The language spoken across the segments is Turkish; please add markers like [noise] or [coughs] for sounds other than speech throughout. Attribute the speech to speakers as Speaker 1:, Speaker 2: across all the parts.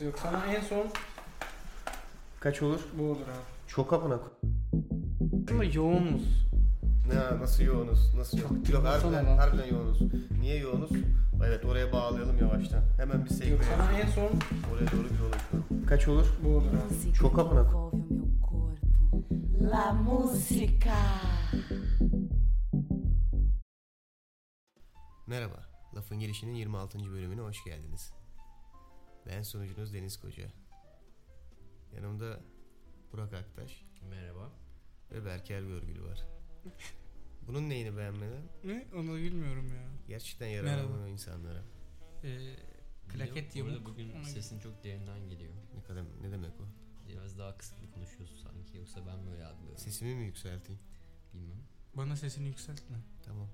Speaker 1: Yok sana en son
Speaker 2: Kaç olur?
Speaker 1: bu olur abi.
Speaker 2: Çok amına ko-
Speaker 1: Aslında yoğunuz.
Speaker 2: Ne nasıl yoğunuz? Nasıl yoğunuz? Yok harbiden,
Speaker 1: baksana lan.
Speaker 2: harbiden yoğunuz. Niye yoğunuz? Evet oraya bağlayalım yavaştan. Hemen bir sekme.
Speaker 1: Yok sana en son
Speaker 2: Oraya doğru bir yol açalım. Kaç olur?
Speaker 1: bu olur abi.
Speaker 2: Çok amına ko-
Speaker 3: envolve Tipo, o meu corpo. La música.
Speaker 4: Merhaba, Lafın Gelişi'nin 26. bölümüne hoş geldiniz. Ben sunucunuz Deniz Koca. Yanımda Burak Aktaş
Speaker 5: Merhaba.
Speaker 4: ve Berker Görgül
Speaker 1: [laughs]
Speaker 4: var. Bunun neyini beğenmeden?
Speaker 6: Ne? Onu bilmiyorum ya.
Speaker 4: Gerçekten yararlanıyor
Speaker 6: Merhaba.
Speaker 4: insanlara.
Speaker 6: Ee, klaket
Speaker 5: Biliyorum, bu
Speaker 6: yumruk.
Speaker 5: arada Bugün
Speaker 6: Ona-
Speaker 5: sesin çok derinden geliyor.
Speaker 4: Ne, kadar, ne demek o?
Speaker 5: Biraz daha kısıklı konuşuyorsun sanki. Yoksa ben böyle algılıyorum.
Speaker 4: Sesimi mi yükselteyim?
Speaker 5: Bilmem.
Speaker 6: Bana sesini yükseltme.
Speaker 1: [laughs]
Speaker 4: Tamam.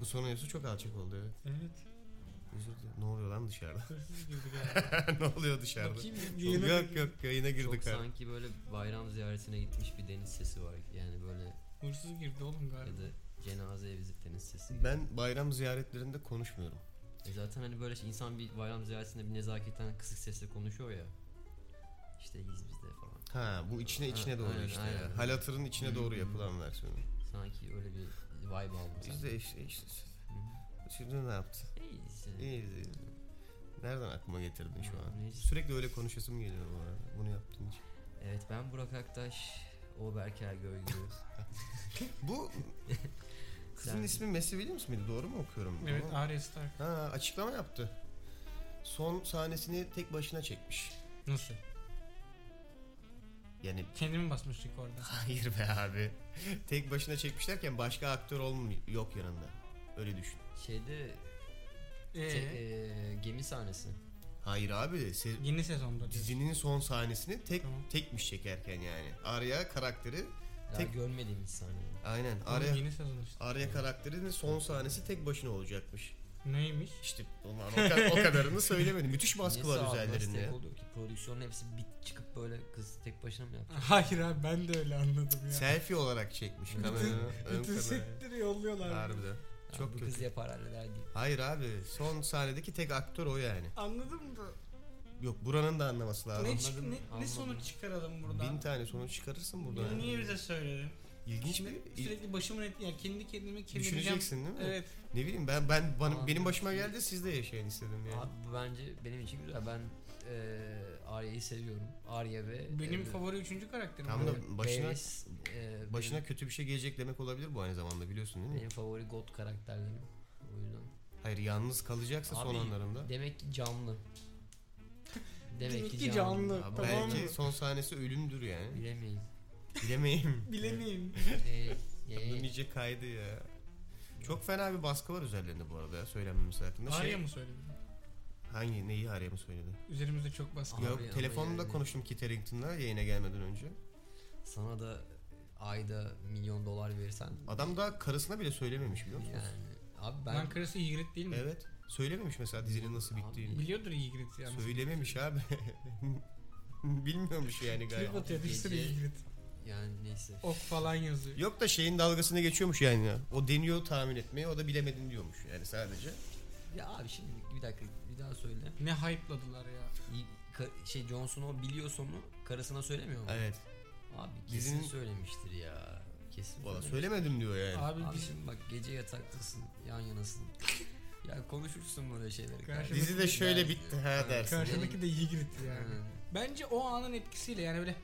Speaker 4: Bu sonuncusu çok alçak oldu evet.
Speaker 6: Evet.
Speaker 4: Özür dilerim. Ne oluyor lan dışarıda?
Speaker 6: Hırsız girdi [laughs] galiba.
Speaker 4: [laughs] ne oluyor dışarıda?
Speaker 6: Bakayım
Speaker 4: Çok-
Speaker 6: yayına
Speaker 4: yok yok yayına
Speaker 5: Çok
Speaker 4: girdik abi.
Speaker 5: sanki böyle bayram ziyaretine gitmiş bir deniz sesi var. Yani böyle
Speaker 6: Hırsız girdi oğlum
Speaker 5: ya
Speaker 6: galiba.
Speaker 5: da cenazeye vizit deniz sesi. gibi.
Speaker 4: Ben bayram ziyaretlerinde konuşmuyorum.
Speaker 5: E zaten hani böyle şey, insan bir bayram ziyaretinde bir nezaketen kısık sesle konuşuyor ya. İşte iyiyiz biz de falan.
Speaker 4: Ha bu içine içine
Speaker 5: Ha,
Speaker 4: doğru
Speaker 5: aynen,
Speaker 4: işte.
Speaker 5: aynen. Hmm.
Speaker 4: Hal hatırın içine doğru yapılan versiyonu.
Speaker 5: Sanki öyle bir vibe aldım.
Speaker 4: Biz de işte işte. Şimdi ne yaptı?
Speaker 5: İyiyiz. yani.
Speaker 4: İyiyiz iyiyiz. Nereden aklıma getirdin şu an?
Speaker 5: Neyse.
Speaker 4: Sürekli öyle konuşasım geliyor bu arada. Bunu yaptığım için.
Speaker 5: Evet ben Burak Aktaş. O Berker Görgül.
Speaker 4: Bu [laughs] kızın
Speaker 5: Sen-
Speaker 4: ismi Messi Williams mıydı? Doğru mu okuyorum? bunu?
Speaker 6: Evet Arya Stark.
Speaker 4: Ha açıklama yaptı. Son sahnesini tek başına çekmiş.
Speaker 6: Nasıl?
Speaker 4: Yani
Speaker 6: Kendimi basmıştık orada.
Speaker 4: hayır be abi. tek başına çekmiş derken başka aktör olmuyor yok yanında. Öyle düşün.
Speaker 5: Şeyde te-
Speaker 6: Ee,
Speaker 5: e, gemi sahnesi.
Speaker 4: Hayır abi de se-
Speaker 6: yeni sezonda diyor.
Speaker 4: dizinin son sahnesini tek
Speaker 6: Tamam.
Speaker 4: tekmiş çekerken yani. Arya karakteri
Speaker 5: Daha
Speaker 4: Tek-
Speaker 5: görmediğimiz sahne.
Speaker 4: aynen
Speaker 6: Onun
Speaker 4: Arya
Speaker 6: Yeni sezon işte.
Speaker 4: Arya karakterinin son sahnesi tek başına olacakmış.
Speaker 6: Neymiş? [laughs]
Speaker 4: İşte ulan o, ka- o kadarını söylemedim. Müthiş baskı
Speaker 5: Neyse
Speaker 4: var
Speaker 5: abi, nasıl
Speaker 4: üzerlerinde.
Speaker 5: tek
Speaker 4: ya.
Speaker 5: oluyor ki prodüksiyonun hepsi bit çıkıp böyle kız tek başına mı yapacak?
Speaker 6: Hayır abi ben de öyle anladım ya.
Speaker 4: Selfie olarak çekmiş kameranın ön
Speaker 6: Bütün
Speaker 4: kamerayı.
Speaker 6: setleri yolluyorlar.
Speaker 4: Harbiden.
Speaker 5: Ya
Speaker 4: Çok
Speaker 5: bu kız
Speaker 4: kötü.
Speaker 5: yapar halleder diye.
Speaker 4: Hayır abi son sahnedeki tek aktör o yani.
Speaker 6: Anladın mı?
Speaker 4: Yok buranın da anlaması lazım.
Speaker 6: ne, çık-
Speaker 5: anladım,
Speaker 6: ne, ne
Speaker 5: anladım.
Speaker 6: sonuç çıkaralım
Speaker 4: Bin
Speaker 6: buradan?
Speaker 4: tane sonuç çıkarırsın buradan.
Speaker 6: Bunu niye bize söyledin?
Speaker 4: İlginç bir...
Speaker 6: Şimdi sürekli başımın et yani kendi kendimi kemireceğim.
Speaker 4: Düşüneceksin değil mi?
Speaker 6: Evet.
Speaker 4: Ne bileyim ben ben bana,
Speaker 5: Aa,
Speaker 4: benim başıma geldi siz de yaşayın istedim yani.
Speaker 5: Abi bu bence benim için güzel. Ben e, Arya'yı seviyorum. Arya ve
Speaker 6: Benim
Speaker 5: e,
Speaker 6: favori üçüncü karakterim.
Speaker 4: Tam
Speaker 6: bu.
Speaker 4: da başına
Speaker 5: Daenerys, e,
Speaker 4: başına
Speaker 5: benim,
Speaker 4: kötü bir şey gelecek demek olabilir bu aynı zamanda biliyorsun değil mi?
Speaker 5: benim favori god karakterlerim. O yüzden.
Speaker 4: Hayır yalnız kalacaksa son
Speaker 5: Abi,
Speaker 4: anlarında.
Speaker 5: Demek ki canlı. Demek
Speaker 6: Demek ki
Speaker 5: ki
Speaker 6: canlı.
Speaker 5: canlı.
Speaker 4: Abi
Speaker 6: Tamam
Speaker 4: belki
Speaker 6: mı?
Speaker 4: son sahnesi ölümdür yani. [laughs]
Speaker 5: Bilemeyiz.
Speaker 4: Bilemeyim.
Speaker 6: [laughs] Bilemeyim.
Speaker 5: Ee,
Speaker 4: Bunun
Speaker 5: yani,
Speaker 4: iyice kaydı ya. Çok fena bir baskı var üzerlerinde bu arada ya, söylenmemesi hakkında. Şey,
Speaker 6: Arya mı söyledi?
Speaker 4: Hangi neyi Arya mı söyledi?
Speaker 6: Üzerimizde çok baskı.
Speaker 5: Abi
Speaker 4: ya
Speaker 5: ama
Speaker 4: telefonla
Speaker 5: yani.
Speaker 4: konuştum Kit Harington'la yayına gelmeden önce.
Speaker 5: sana da ayda milyon dolar verirsen
Speaker 4: Adam daha karısına bile söylememiş biliyor musun?
Speaker 5: yani abi
Speaker 6: Ben,
Speaker 5: ben
Speaker 6: Lan karısı Ygritte değil mi?
Speaker 4: Evet. Söylememiş mesela dizinin nasıl
Speaker 5: Abi,
Speaker 4: bittiğini.
Speaker 6: Biliyordur Ygritte yani.
Speaker 4: Söylememiş abi. [laughs] Bilmiyormuş yani
Speaker 6: Trip
Speaker 4: galiba.
Speaker 6: atıyor bir sürü
Speaker 5: Gece-
Speaker 6: Ygritte.
Speaker 5: yani neyse.
Speaker 6: Ok falan yazıyor.
Speaker 4: Yok da şeyin dalgasını geçiyormuş yani. ya. O deniyor tahmin etmeyi o da bilemedin diyormuş yani sadece.
Speaker 5: Ya abi şimdi bir dakika bir daha söyle.
Speaker 6: Ne hype'ladılar ya.
Speaker 5: İyi, ka- şey Jon Snow biliyor sonu karısına söylemiyor mu?
Speaker 4: Evet.
Speaker 5: Abi kesin
Speaker 4: Dizinin-
Speaker 5: söylemiştir ya. Kesin.
Speaker 4: Valla
Speaker 5: söylemiştir.
Speaker 4: söylemedim diyor yani.
Speaker 6: Abi,
Speaker 5: Abi
Speaker 6: biz
Speaker 5: şimdi bak gece yataktasın yan yanasın. ya konuşursun böyle şeyleri.
Speaker 6: Karşı-
Speaker 5: Dizi-
Speaker 4: Dizi de şöyle bitti ha dersin.
Speaker 6: karşıdaki de Ygritte yani.
Speaker 5: Yani.
Speaker 6: Bence o anın etkisiyle yani böyle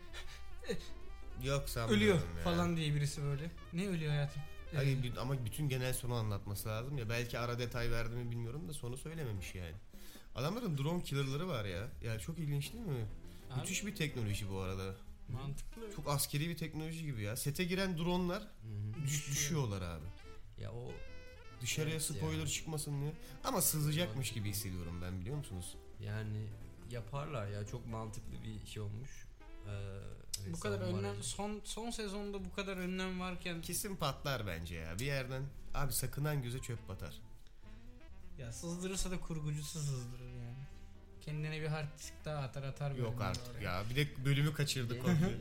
Speaker 4: Yok sanmıyorum
Speaker 6: ölüyor
Speaker 4: ya.
Speaker 6: falan diye birisi böyle. Ne ölüyor hayatım? Ee,
Speaker 4: Hayır, bir- ama bütün genel sonu anlatması lazım ya. Belki ara detay verdi mi bilmiyorum da sonu söylememiş yani. Adamların drone killer'ları var ya. Ya çok ilginç değil mi?
Speaker 6: abi,
Speaker 4: Müthiş bir teknoloji bu arada.
Speaker 6: mantıklı.
Speaker 4: Çok askeri bir teknoloji gibi ya. Sete giren dronlar
Speaker 5: Hı hı.
Speaker 4: düş- düşüyorlar abi.
Speaker 5: Ya o
Speaker 4: Dışarıya
Speaker 5: Evet ya.
Speaker 4: spoiler çıkmasın diye. Ama sızacakmış gibi hissediyorum ben biliyor musunuz?
Speaker 5: yani yaparlar ya çok mantıklı bir şey olmuş. Ee, hani
Speaker 6: Bu kadar
Speaker 5: savunma
Speaker 6: önlem
Speaker 5: aracı.
Speaker 6: son son sezonda bu kadar önlem varken
Speaker 4: Kesin patlar bence ya. Bir yerden abi sakınan göze çöp batar.
Speaker 6: ya sızdırırsa da kurgucusu sızdırır yani. Kendine bir hard disk daha atar atar
Speaker 4: Yok
Speaker 6: bölümleri
Speaker 4: artık
Speaker 6: oraya.
Speaker 4: ya. Bir de bölümü kaçırdık.
Speaker 5: Yani
Speaker 4: komple.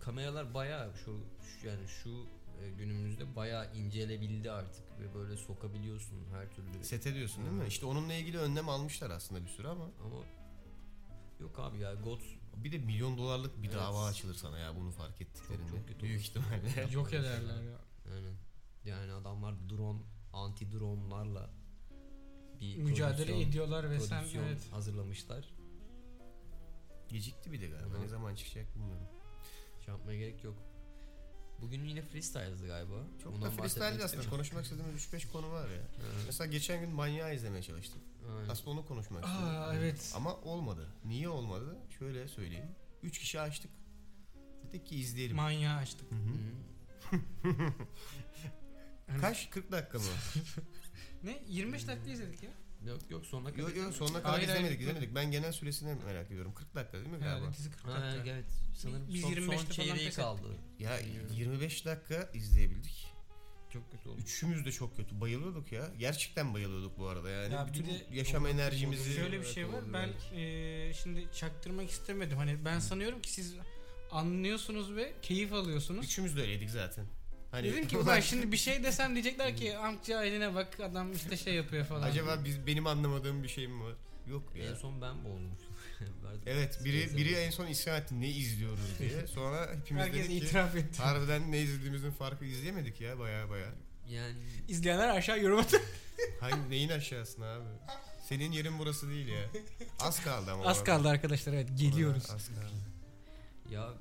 Speaker 5: kameralar bayağı şu, şu- yani şu e, günümüzde bayağı incelebildi artık ve böyle sokabiliyorsun her türlü.
Speaker 4: Sete diyorsun değil mi? İşte onunla ilgili önlem almışlar aslında bir sürü ama.
Speaker 5: Ama yok abi ya. God
Speaker 4: Bir de milyon dolarlık bir
Speaker 5: Evet.
Speaker 4: dava açılır sana ya bunu fark ettiklerinde.
Speaker 5: Çok- çok kötü
Speaker 4: Büyük
Speaker 5: olur. [laughs]
Speaker 4: ihtimalle.
Speaker 6: Yok ederler ya.
Speaker 5: yani, yani adamlar drone, anti dronelarla bir
Speaker 6: Mücadele
Speaker 5: prodüksiyon-
Speaker 6: ediyorlar ve sen
Speaker 5: prodüksiyon
Speaker 6: evet.
Speaker 5: hazırlamışlar.
Speaker 4: Gecikti bir de galiba.
Speaker 5: Ama-
Speaker 4: Ne zaman çıkacak bilmiyorum.
Speaker 5: Şey yapmaya gerek yok. Bugün yine freestyle'dı galiba.
Speaker 4: Çok
Speaker 5: Bundan
Speaker 4: da freestyle
Speaker 5: bahsetmek
Speaker 4: aslında.
Speaker 5: istemiyorum.
Speaker 4: Konuşmak istediğim 3-5 konu var ya.
Speaker 5: Evet,
Speaker 4: Mesela geçen gün manyağı izlemeye çalıştım.
Speaker 5: aynen.
Speaker 4: Aslında onu konuşmak istedim.
Speaker 6: Aa evet.
Speaker 4: Ama olmadı. Niye olmadı? Şöyle söyleyeyim. 3 kişi açtık. Dedik ki izleyelim.
Speaker 6: Manyağı açtık.
Speaker 4: Hı hı.
Speaker 5: Hı.
Speaker 6: Hani-
Speaker 4: Kaç?
Speaker 6: [laughs]
Speaker 4: 40 dakika mı?
Speaker 6: Ne? 25 dakika izledik ya.
Speaker 5: Yok yok sonuna kadar.
Speaker 4: yok yok sonuna kadar
Speaker 6: Hayır, hayır.
Speaker 4: izlemedik izlemedik. Ben genel süresini merak ediyorum. 40 dakika değil mi galiba?
Speaker 6: Herhalde dizi 40
Speaker 5: Ha,
Speaker 6: dakika.
Speaker 5: evet sanırım
Speaker 6: Biz
Speaker 5: son,
Speaker 6: 25'te
Speaker 5: son
Speaker 6: falan
Speaker 5: çeyreği
Speaker 6: pes
Speaker 5: kaldı.
Speaker 4: Ya
Speaker 5: Bilmiyorum.
Speaker 4: 25 dakika izleyebildik.
Speaker 5: Çok kötü oldu.
Speaker 4: Üçümüz de çok kötü. Bayılıyorduk ya. Gerçekten bayılıyorduk bu arada yani.
Speaker 6: Ya bir
Speaker 4: Bütün
Speaker 6: de-
Speaker 4: yaşam enerjimizi...
Speaker 6: Şöyle bir
Speaker 5: Evet,
Speaker 6: şey var.
Speaker 5: olabilir
Speaker 6: Ben
Speaker 5: belki.
Speaker 6: eee, şimdi çaktırmak istemedim. Hani ben sanıyorum ki siz anlıyorsunuz ve keyif alıyorsunuz.
Speaker 4: Üçümüz de öyleydik zaten. Hani
Speaker 6: Dedim ki
Speaker 4: [laughs]
Speaker 6: ulan şimdi bir şey desem diyecekler ki amca eline bak adam işte şey yapıyor falan.
Speaker 4: Acaba biz, benim anlamadığım bir şey mi var? Yok
Speaker 5: En
Speaker 4: ya. E,
Speaker 5: son ben boğulmuştum. [laughs] Verdim.
Speaker 4: Evet biri
Speaker 5: Neyse,
Speaker 4: biri
Speaker 5: neyse.
Speaker 4: en son isyan etti ne
Speaker 6: [laughs]
Speaker 4: izliyoruz diye. Sonra hepimiz
Speaker 6: Herkes
Speaker 4: dedik ki
Speaker 6: itiraf etti.
Speaker 4: harbiden ne izlediğimizin farkı izleyemedik ya baya baya.
Speaker 5: Yani
Speaker 6: İzleyenler aşağı yorum atın.
Speaker 4: Hangi neyin aşağısına abi? Senin yerin burası değil ya. Az kaldı ama.
Speaker 6: Az
Speaker 4: orada.
Speaker 6: kaldı arkadaşlar evet geliyoruz.
Speaker 4: Orada Az kaldı.
Speaker 5: ya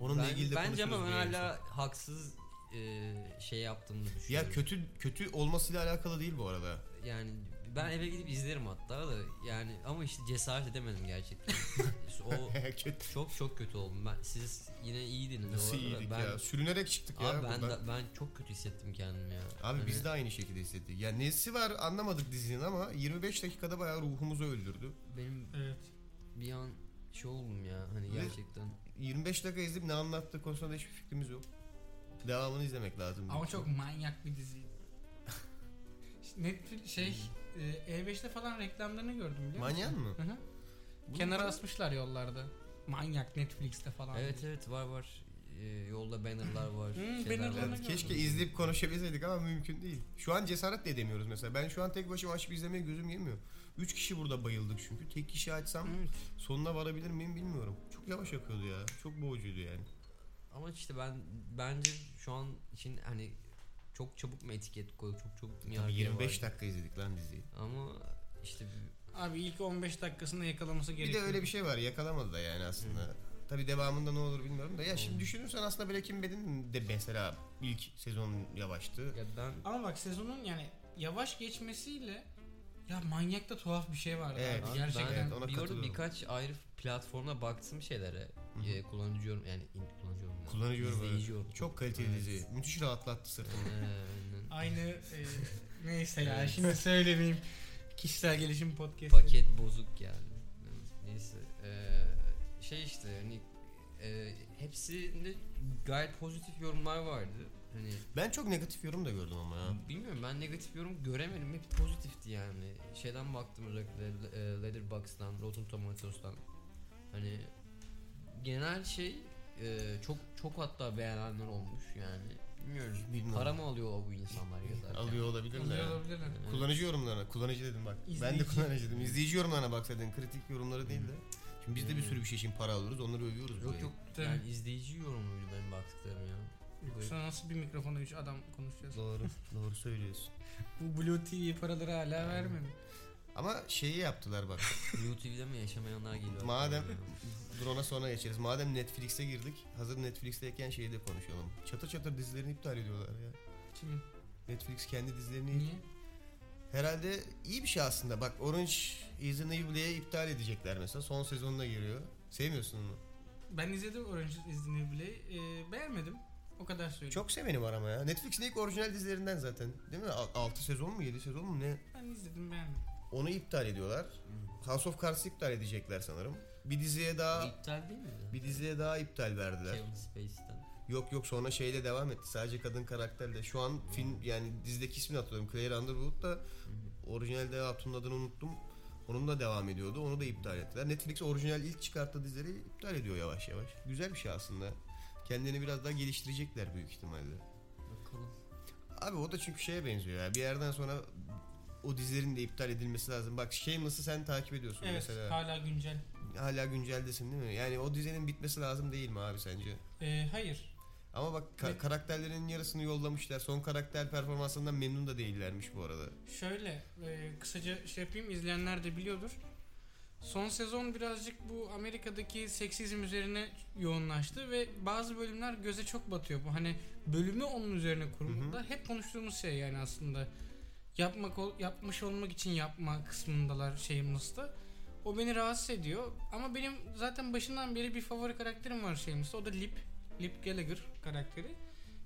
Speaker 4: Onunla
Speaker 5: ben-
Speaker 4: ilgili de
Speaker 5: bence ama ben
Speaker 4: konuşuruz bir
Speaker 5: hala haksız e, şey yaptığımı düşünüyorum.
Speaker 4: Ya kötü kötü olmasıyla alakalı değil bu arada. [laughs]
Speaker 5: Yani ben eve gidip izlerim hatta da yani ama işte cesaret edemedim gerçekten. [laughs] İşte o
Speaker 4: kötü.
Speaker 5: çok çok kötü oldum. Ben siz yine iyiydiniz.
Speaker 4: Nasıl
Speaker 5: o arada.
Speaker 4: iyiydik
Speaker 5: ben,
Speaker 4: ya? Sürünerek çıktık ya
Speaker 5: Abi ben,
Speaker 4: buradan.
Speaker 5: de- ben çok kötü hissettim kendimi ya.
Speaker 4: Abi
Speaker 5: Hani-
Speaker 4: biz de aynı şekilde hissettik. Ya nesi var anlamadık dizinin ama 25 dakikada bayağı ruhumuzu öldürdü.
Speaker 5: benim
Speaker 6: Evet.
Speaker 5: bir an şey oldum ya hani
Speaker 4: Ve-
Speaker 5: gerçekten.
Speaker 4: 25 dakika izleyip ne anlattığı konusunda da hiçbir fikrimiz yok. Devamını izlemek lazım.
Speaker 6: Ama çok manyak bir dizi. Netflix şey e, E5'te falan reklamlarını gördüm biliyor musun?
Speaker 4: Manyan mı?
Speaker 6: Hı hı.
Speaker 4: Bunu
Speaker 6: Kenara
Speaker 4: bana-
Speaker 6: asmışlar yollarda. Manyak Netflix'te falan.
Speaker 5: Evet evet var var. Ee, yolda bannerlar var.
Speaker 6: Hmm,
Speaker 5: şeyler var.
Speaker 6: bannerlarını
Speaker 4: Evet, keşke izleyip konuşabilseydik ama mümkün değil. Şu an cesaret de edemiyoruz mesela. Ben şu an tek başıma açıp izlemeye gözüm yemiyor. 3 kişi burada bayıldık çünkü. Tek kişi açsam
Speaker 6: Evet.
Speaker 4: sonuna varabilir miyim bilmiyorum. Çok yavaş akıyordu ya. Çok boğucuydu yani.
Speaker 5: Ama işte ben bence şu an için hani çok çabuk mu etiket koyduk çok çabuk mu
Speaker 4: E, Tabii
Speaker 5: yargıya
Speaker 4: 25
Speaker 5: vardık?
Speaker 4: dakika izledik lan diziyi.
Speaker 5: Ama işte bir-
Speaker 6: Abi ilk 15 dakikasında yakalaması
Speaker 4: Bir de
Speaker 6: gerekiyor.
Speaker 4: öyle bir şey var yakalamadı da yani aslında. Tabi devamında ne olur bilmiyorum da. Ya şimdi
Speaker 5: Hmm.
Speaker 4: düşünürsen aslında Breaking Bad'in de mesela ilk sezon yavaştı.
Speaker 5: ya ben
Speaker 6: Ama bak sezonun yani yavaş geçmesiyle ya manyakta tuhaf bir şey vardı
Speaker 4: Evet,
Speaker 6: abi
Speaker 5: abi
Speaker 6: gerçekten.
Speaker 4: evet, ona
Speaker 5: bir
Speaker 4: katılıyorum.
Speaker 5: orada birkaç ayrı platforma baktım şeylere.
Speaker 4: Hı hı.
Speaker 5: E, kullanıcı yorum yani in- kullanıcı yorum. ya,
Speaker 4: Kullanıcı yorumu,
Speaker 5: izleyici yorum.
Speaker 4: Çok kaliteli
Speaker 5: Evet.
Speaker 4: dizi. Müthiş rahatlattı
Speaker 5: Ee,
Speaker 4: sırtımı.
Speaker 6: [laughs] Aynı
Speaker 4: [laughs]
Speaker 6: e, neyse ya şimdi söylemeyeyim. Kişisel gelişim podcast'i.
Speaker 5: paket bozuk yani. Neyse. ee, şey işte hani ee, hepsinde gayet pozitif yorumlar vardı. Hani
Speaker 4: Ben çok negatif yorum da gördüm ama ya.
Speaker 5: Bilmiyorum ben negatif yorum göremedim. Hep pozitifti yani. Şeyden baktım özellikle e, Letterboxd'dan, Rotten Tomatoes'tan. Hani genel şey e, çok çok hatta beğenenler olmuş yani. Bilmiyorum.
Speaker 4: Bilmiyorum.
Speaker 5: Para mı alıyor bu insanlar yazarken?
Speaker 4: Alıyor olabilirler.
Speaker 6: Oluyor
Speaker 4: ya.
Speaker 6: olabilirler.
Speaker 5: Yani.
Speaker 4: Kullanıcı yorumlarına, kullanıcı dedim bak. Ben de
Speaker 6: İzleyici.
Speaker 4: kullanıcıydım. İzleyici yorumlarına baksaydın kritik yorumları değil de. Şimdi biz de bir
Speaker 5: Hmm.
Speaker 4: sürü bir şey için para alıyoruz, onları övüyoruz.
Speaker 5: Yok
Speaker 4: bile.
Speaker 5: yok
Speaker 6: Tabii.
Speaker 5: yani izleyici yorumuydu benim baktıklarım ya.
Speaker 6: Yoksa nasıl bir mikrofona 3 adam konuşacağız?
Speaker 4: Doğru, doğru söylüyorsun.
Speaker 6: Bu Blue TV paraları hala vermedi.
Speaker 4: Ama şeyi yaptılar bak.
Speaker 5: Blue TV'de mi yaşamayanlar geliyor?
Speaker 4: Madem-
Speaker 5: aklıma ya.
Speaker 4: Drone'a sonra geçeriz. Madem Netflix'e girdik, hazır Netflix'teyken şeyi de konuşalım. Çatır çatır dizilerini iptal ediyorlar ya.
Speaker 6: Kimin?
Speaker 4: Netflix kendi dizilerini
Speaker 6: Niye?
Speaker 4: herhalde iyi bir şey aslında. Bak Orange is the New Black'i iptal edecekler mesela. Son sezonuna giriyor. Sevmiyorsun onu.
Speaker 6: Ben izledim Orange is the New Black. Ee, beğenmedim. O kadar söyleyeyim.
Speaker 4: Çok sevenim var ama ya. Netflix'in ilk orijinal dizilerinden zaten. Değil mi? 6 sezon mu 7 sezon mu ne?
Speaker 6: Ben izledim beğenmedim.
Speaker 4: Onu iptal ediyorlar. House of Cards'ı iptal edecekler sanırım. Bir diziye daha
Speaker 5: İptal değil miydi?
Speaker 4: bir diziye daha iptal verdiler.
Speaker 5: Kevin Spacey'den.
Speaker 4: Yok yok sonra şeyle devam etti. Sadece kadın karakterle. Şu an film yani dizideki ismini hatırlıyorum. Claire Underwood da orijinalde hatunun adını unuttum. Onun da devam ediyordu. Onu da iptal ettiler. Netflix orijinal ilk çıkarttığı dizileri iptal ediyor yavaş yavaş. Güzel bir şey aslında. Kendini biraz daha geliştirecekler büyük ihtimalle.
Speaker 5: Bakalım.
Speaker 4: Abi o da çünkü şeye benziyor ya. Bir yerden sonra o dizilerin de iptal edilmesi lazım. Bak Shameless'ı sen takip ediyorsun
Speaker 6: Evet
Speaker 4: mesela.
Speaker 6: hala güncel.
Speaker 4: hala günceldesin değil mi? Yani o dizinin bitmesi lazım değil mi abi sence?
Speaker 6: Ee, hayır.
Speaker 4: Ama bak ka-
Speaker 6: Evet.
Speaker 4: karakterlerin yarısını yollamışlar. Son karakter performansından memnun da değillermiş bu arada.
Speaker 6: Şöyle e, kısaca şey yapayım izleyenler de biliyordur. Son sezon birazcık bu Amerika'daki seksizm üzerine yoğunlaştı ve bazı bölümler göze çok batıyor. Bu hani bölümü onun üzerine kurmakla hep konuştuğumuz şey yani aslında. Yapmak ol- yapmış olmak için yapma kısmındalar şeyin Must'ta. O beni rahatsız ediyor ama benim zaten başından beri bir favori karakterim var şeyin Must'ta. O da Lip. Lip Gallagher karakteri.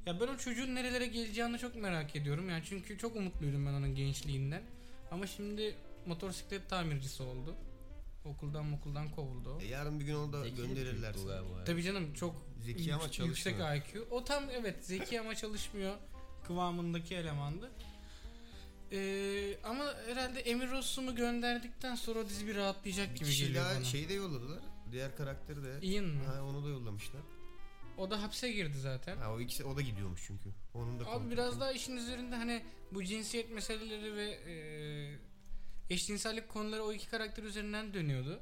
Speaker 6: Ya ben o çocuğun nerelere geleceğini çok merak ediyorum. Yani çünkü çok umutluydum ben onun gençliğinden. Ama şimdi motosiklet tamircisi oldu. Okuldan okuldan kovuldu. o.
Speaker 4: E, yarın bir gün onu da
Speaker 5: Zeki
Speaker 4: gönderirler.
Speaker 5: bir
Speaker 4: sana.
Speaker 5: galiba ya.
Speaker 6: Tabii canım çok
Speaker 4: Zeki ama
Speaker 6: yük- yüksek
Speaker 4: çalışmıyor.
Speaker 6: IQ. O tam evet zeki ama çalışmıyor kıvamındaki elemandı. Ee, ama herhalde Emir Rossum'u gönderdikten sonra o dizi bir rahatlayacak
Speaker 4: Bir
Speaker 6: gibi
Speaker 4: kişi
Speaker 6: geliyor
Speaker 4: daha
Speaker 6: bana.
Speaker 4: şeyi de yolladılar. Diğer karakteri de.
Speaker 6: Ian mı?
Speaker 4: Ha, onu da yollamışlar.
Speaker 6: O da hapse girdi zaten.
Speaker 4: Ha, o ikisi o da gidiyormuş çünkü. Onun da
Speaker 6: Abi
Speaker 4: kontrolü.
Speaker 6: biraz daha işin üzerinde hani bu cinsiyet meseleleri ve e, eşcinsellik konuları o iki karakter üzerinden dönüyordu.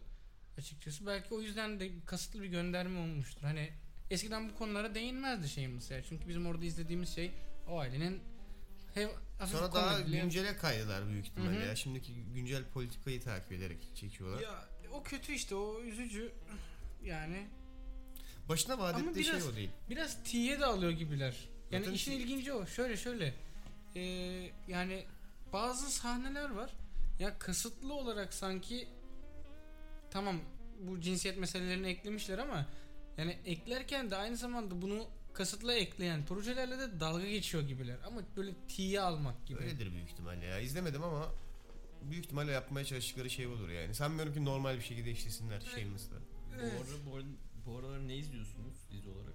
Speaker 6: Açıkçası belki o yüzden de kasıtlı bir gönderme olmuştur. Hani eskiden bu konulara değinmezdi şeyimiz ya. Çünkü bizim orada izlediğimiz şey o ailenin hem hafif
Speaker 4: Sonra daha
Speaker 6: komedili-
Speaker 4: güncele kaydılar büyük ihtimalle
Speaker 6: Hı hı.
Speaker 4: ya. Şimdiki güncel politikayı takip ederek çekiyorlar.
Speaker 6: ya o kötü işte o üzücü yani
Speaker 4: Başına vaat
Speaker 6: Ama
Speaker 4: ettiği şey
Speaker 6: biraz-
Speaker 4: o değil.
Speaker 6: biraz tiye de alıyor gibiler. Yani
Speaker 4: Zaten
Speaker 6: işin
Speaker 4: şey-
Speaker 6: ilginci o. Şöyle şöyle. Ee, yani bazı sahneler var. Ya kasıtlı olarak sanki tamam bu cinsiyet meselelerini eklemişler ama yani eklerken de aynı zamanda bunu kasıtlı ekleyen projelerle de dalga geçiyor gibiler. Ama böyle tiye almak gibi.
Speaker 4: Öyledir büyük ihtimalle ya. İzlemedim ama büyük ihtimalle yapmaya çalıştıkları şey olur yani. Sanmıyorum ki normal bir şekilde işlesinler şey mısın?
Speaker 6: Evet.
Speaker 5: Bu, ara, bu, ara, bu aralar ne izliyorsunuz dizi olarak?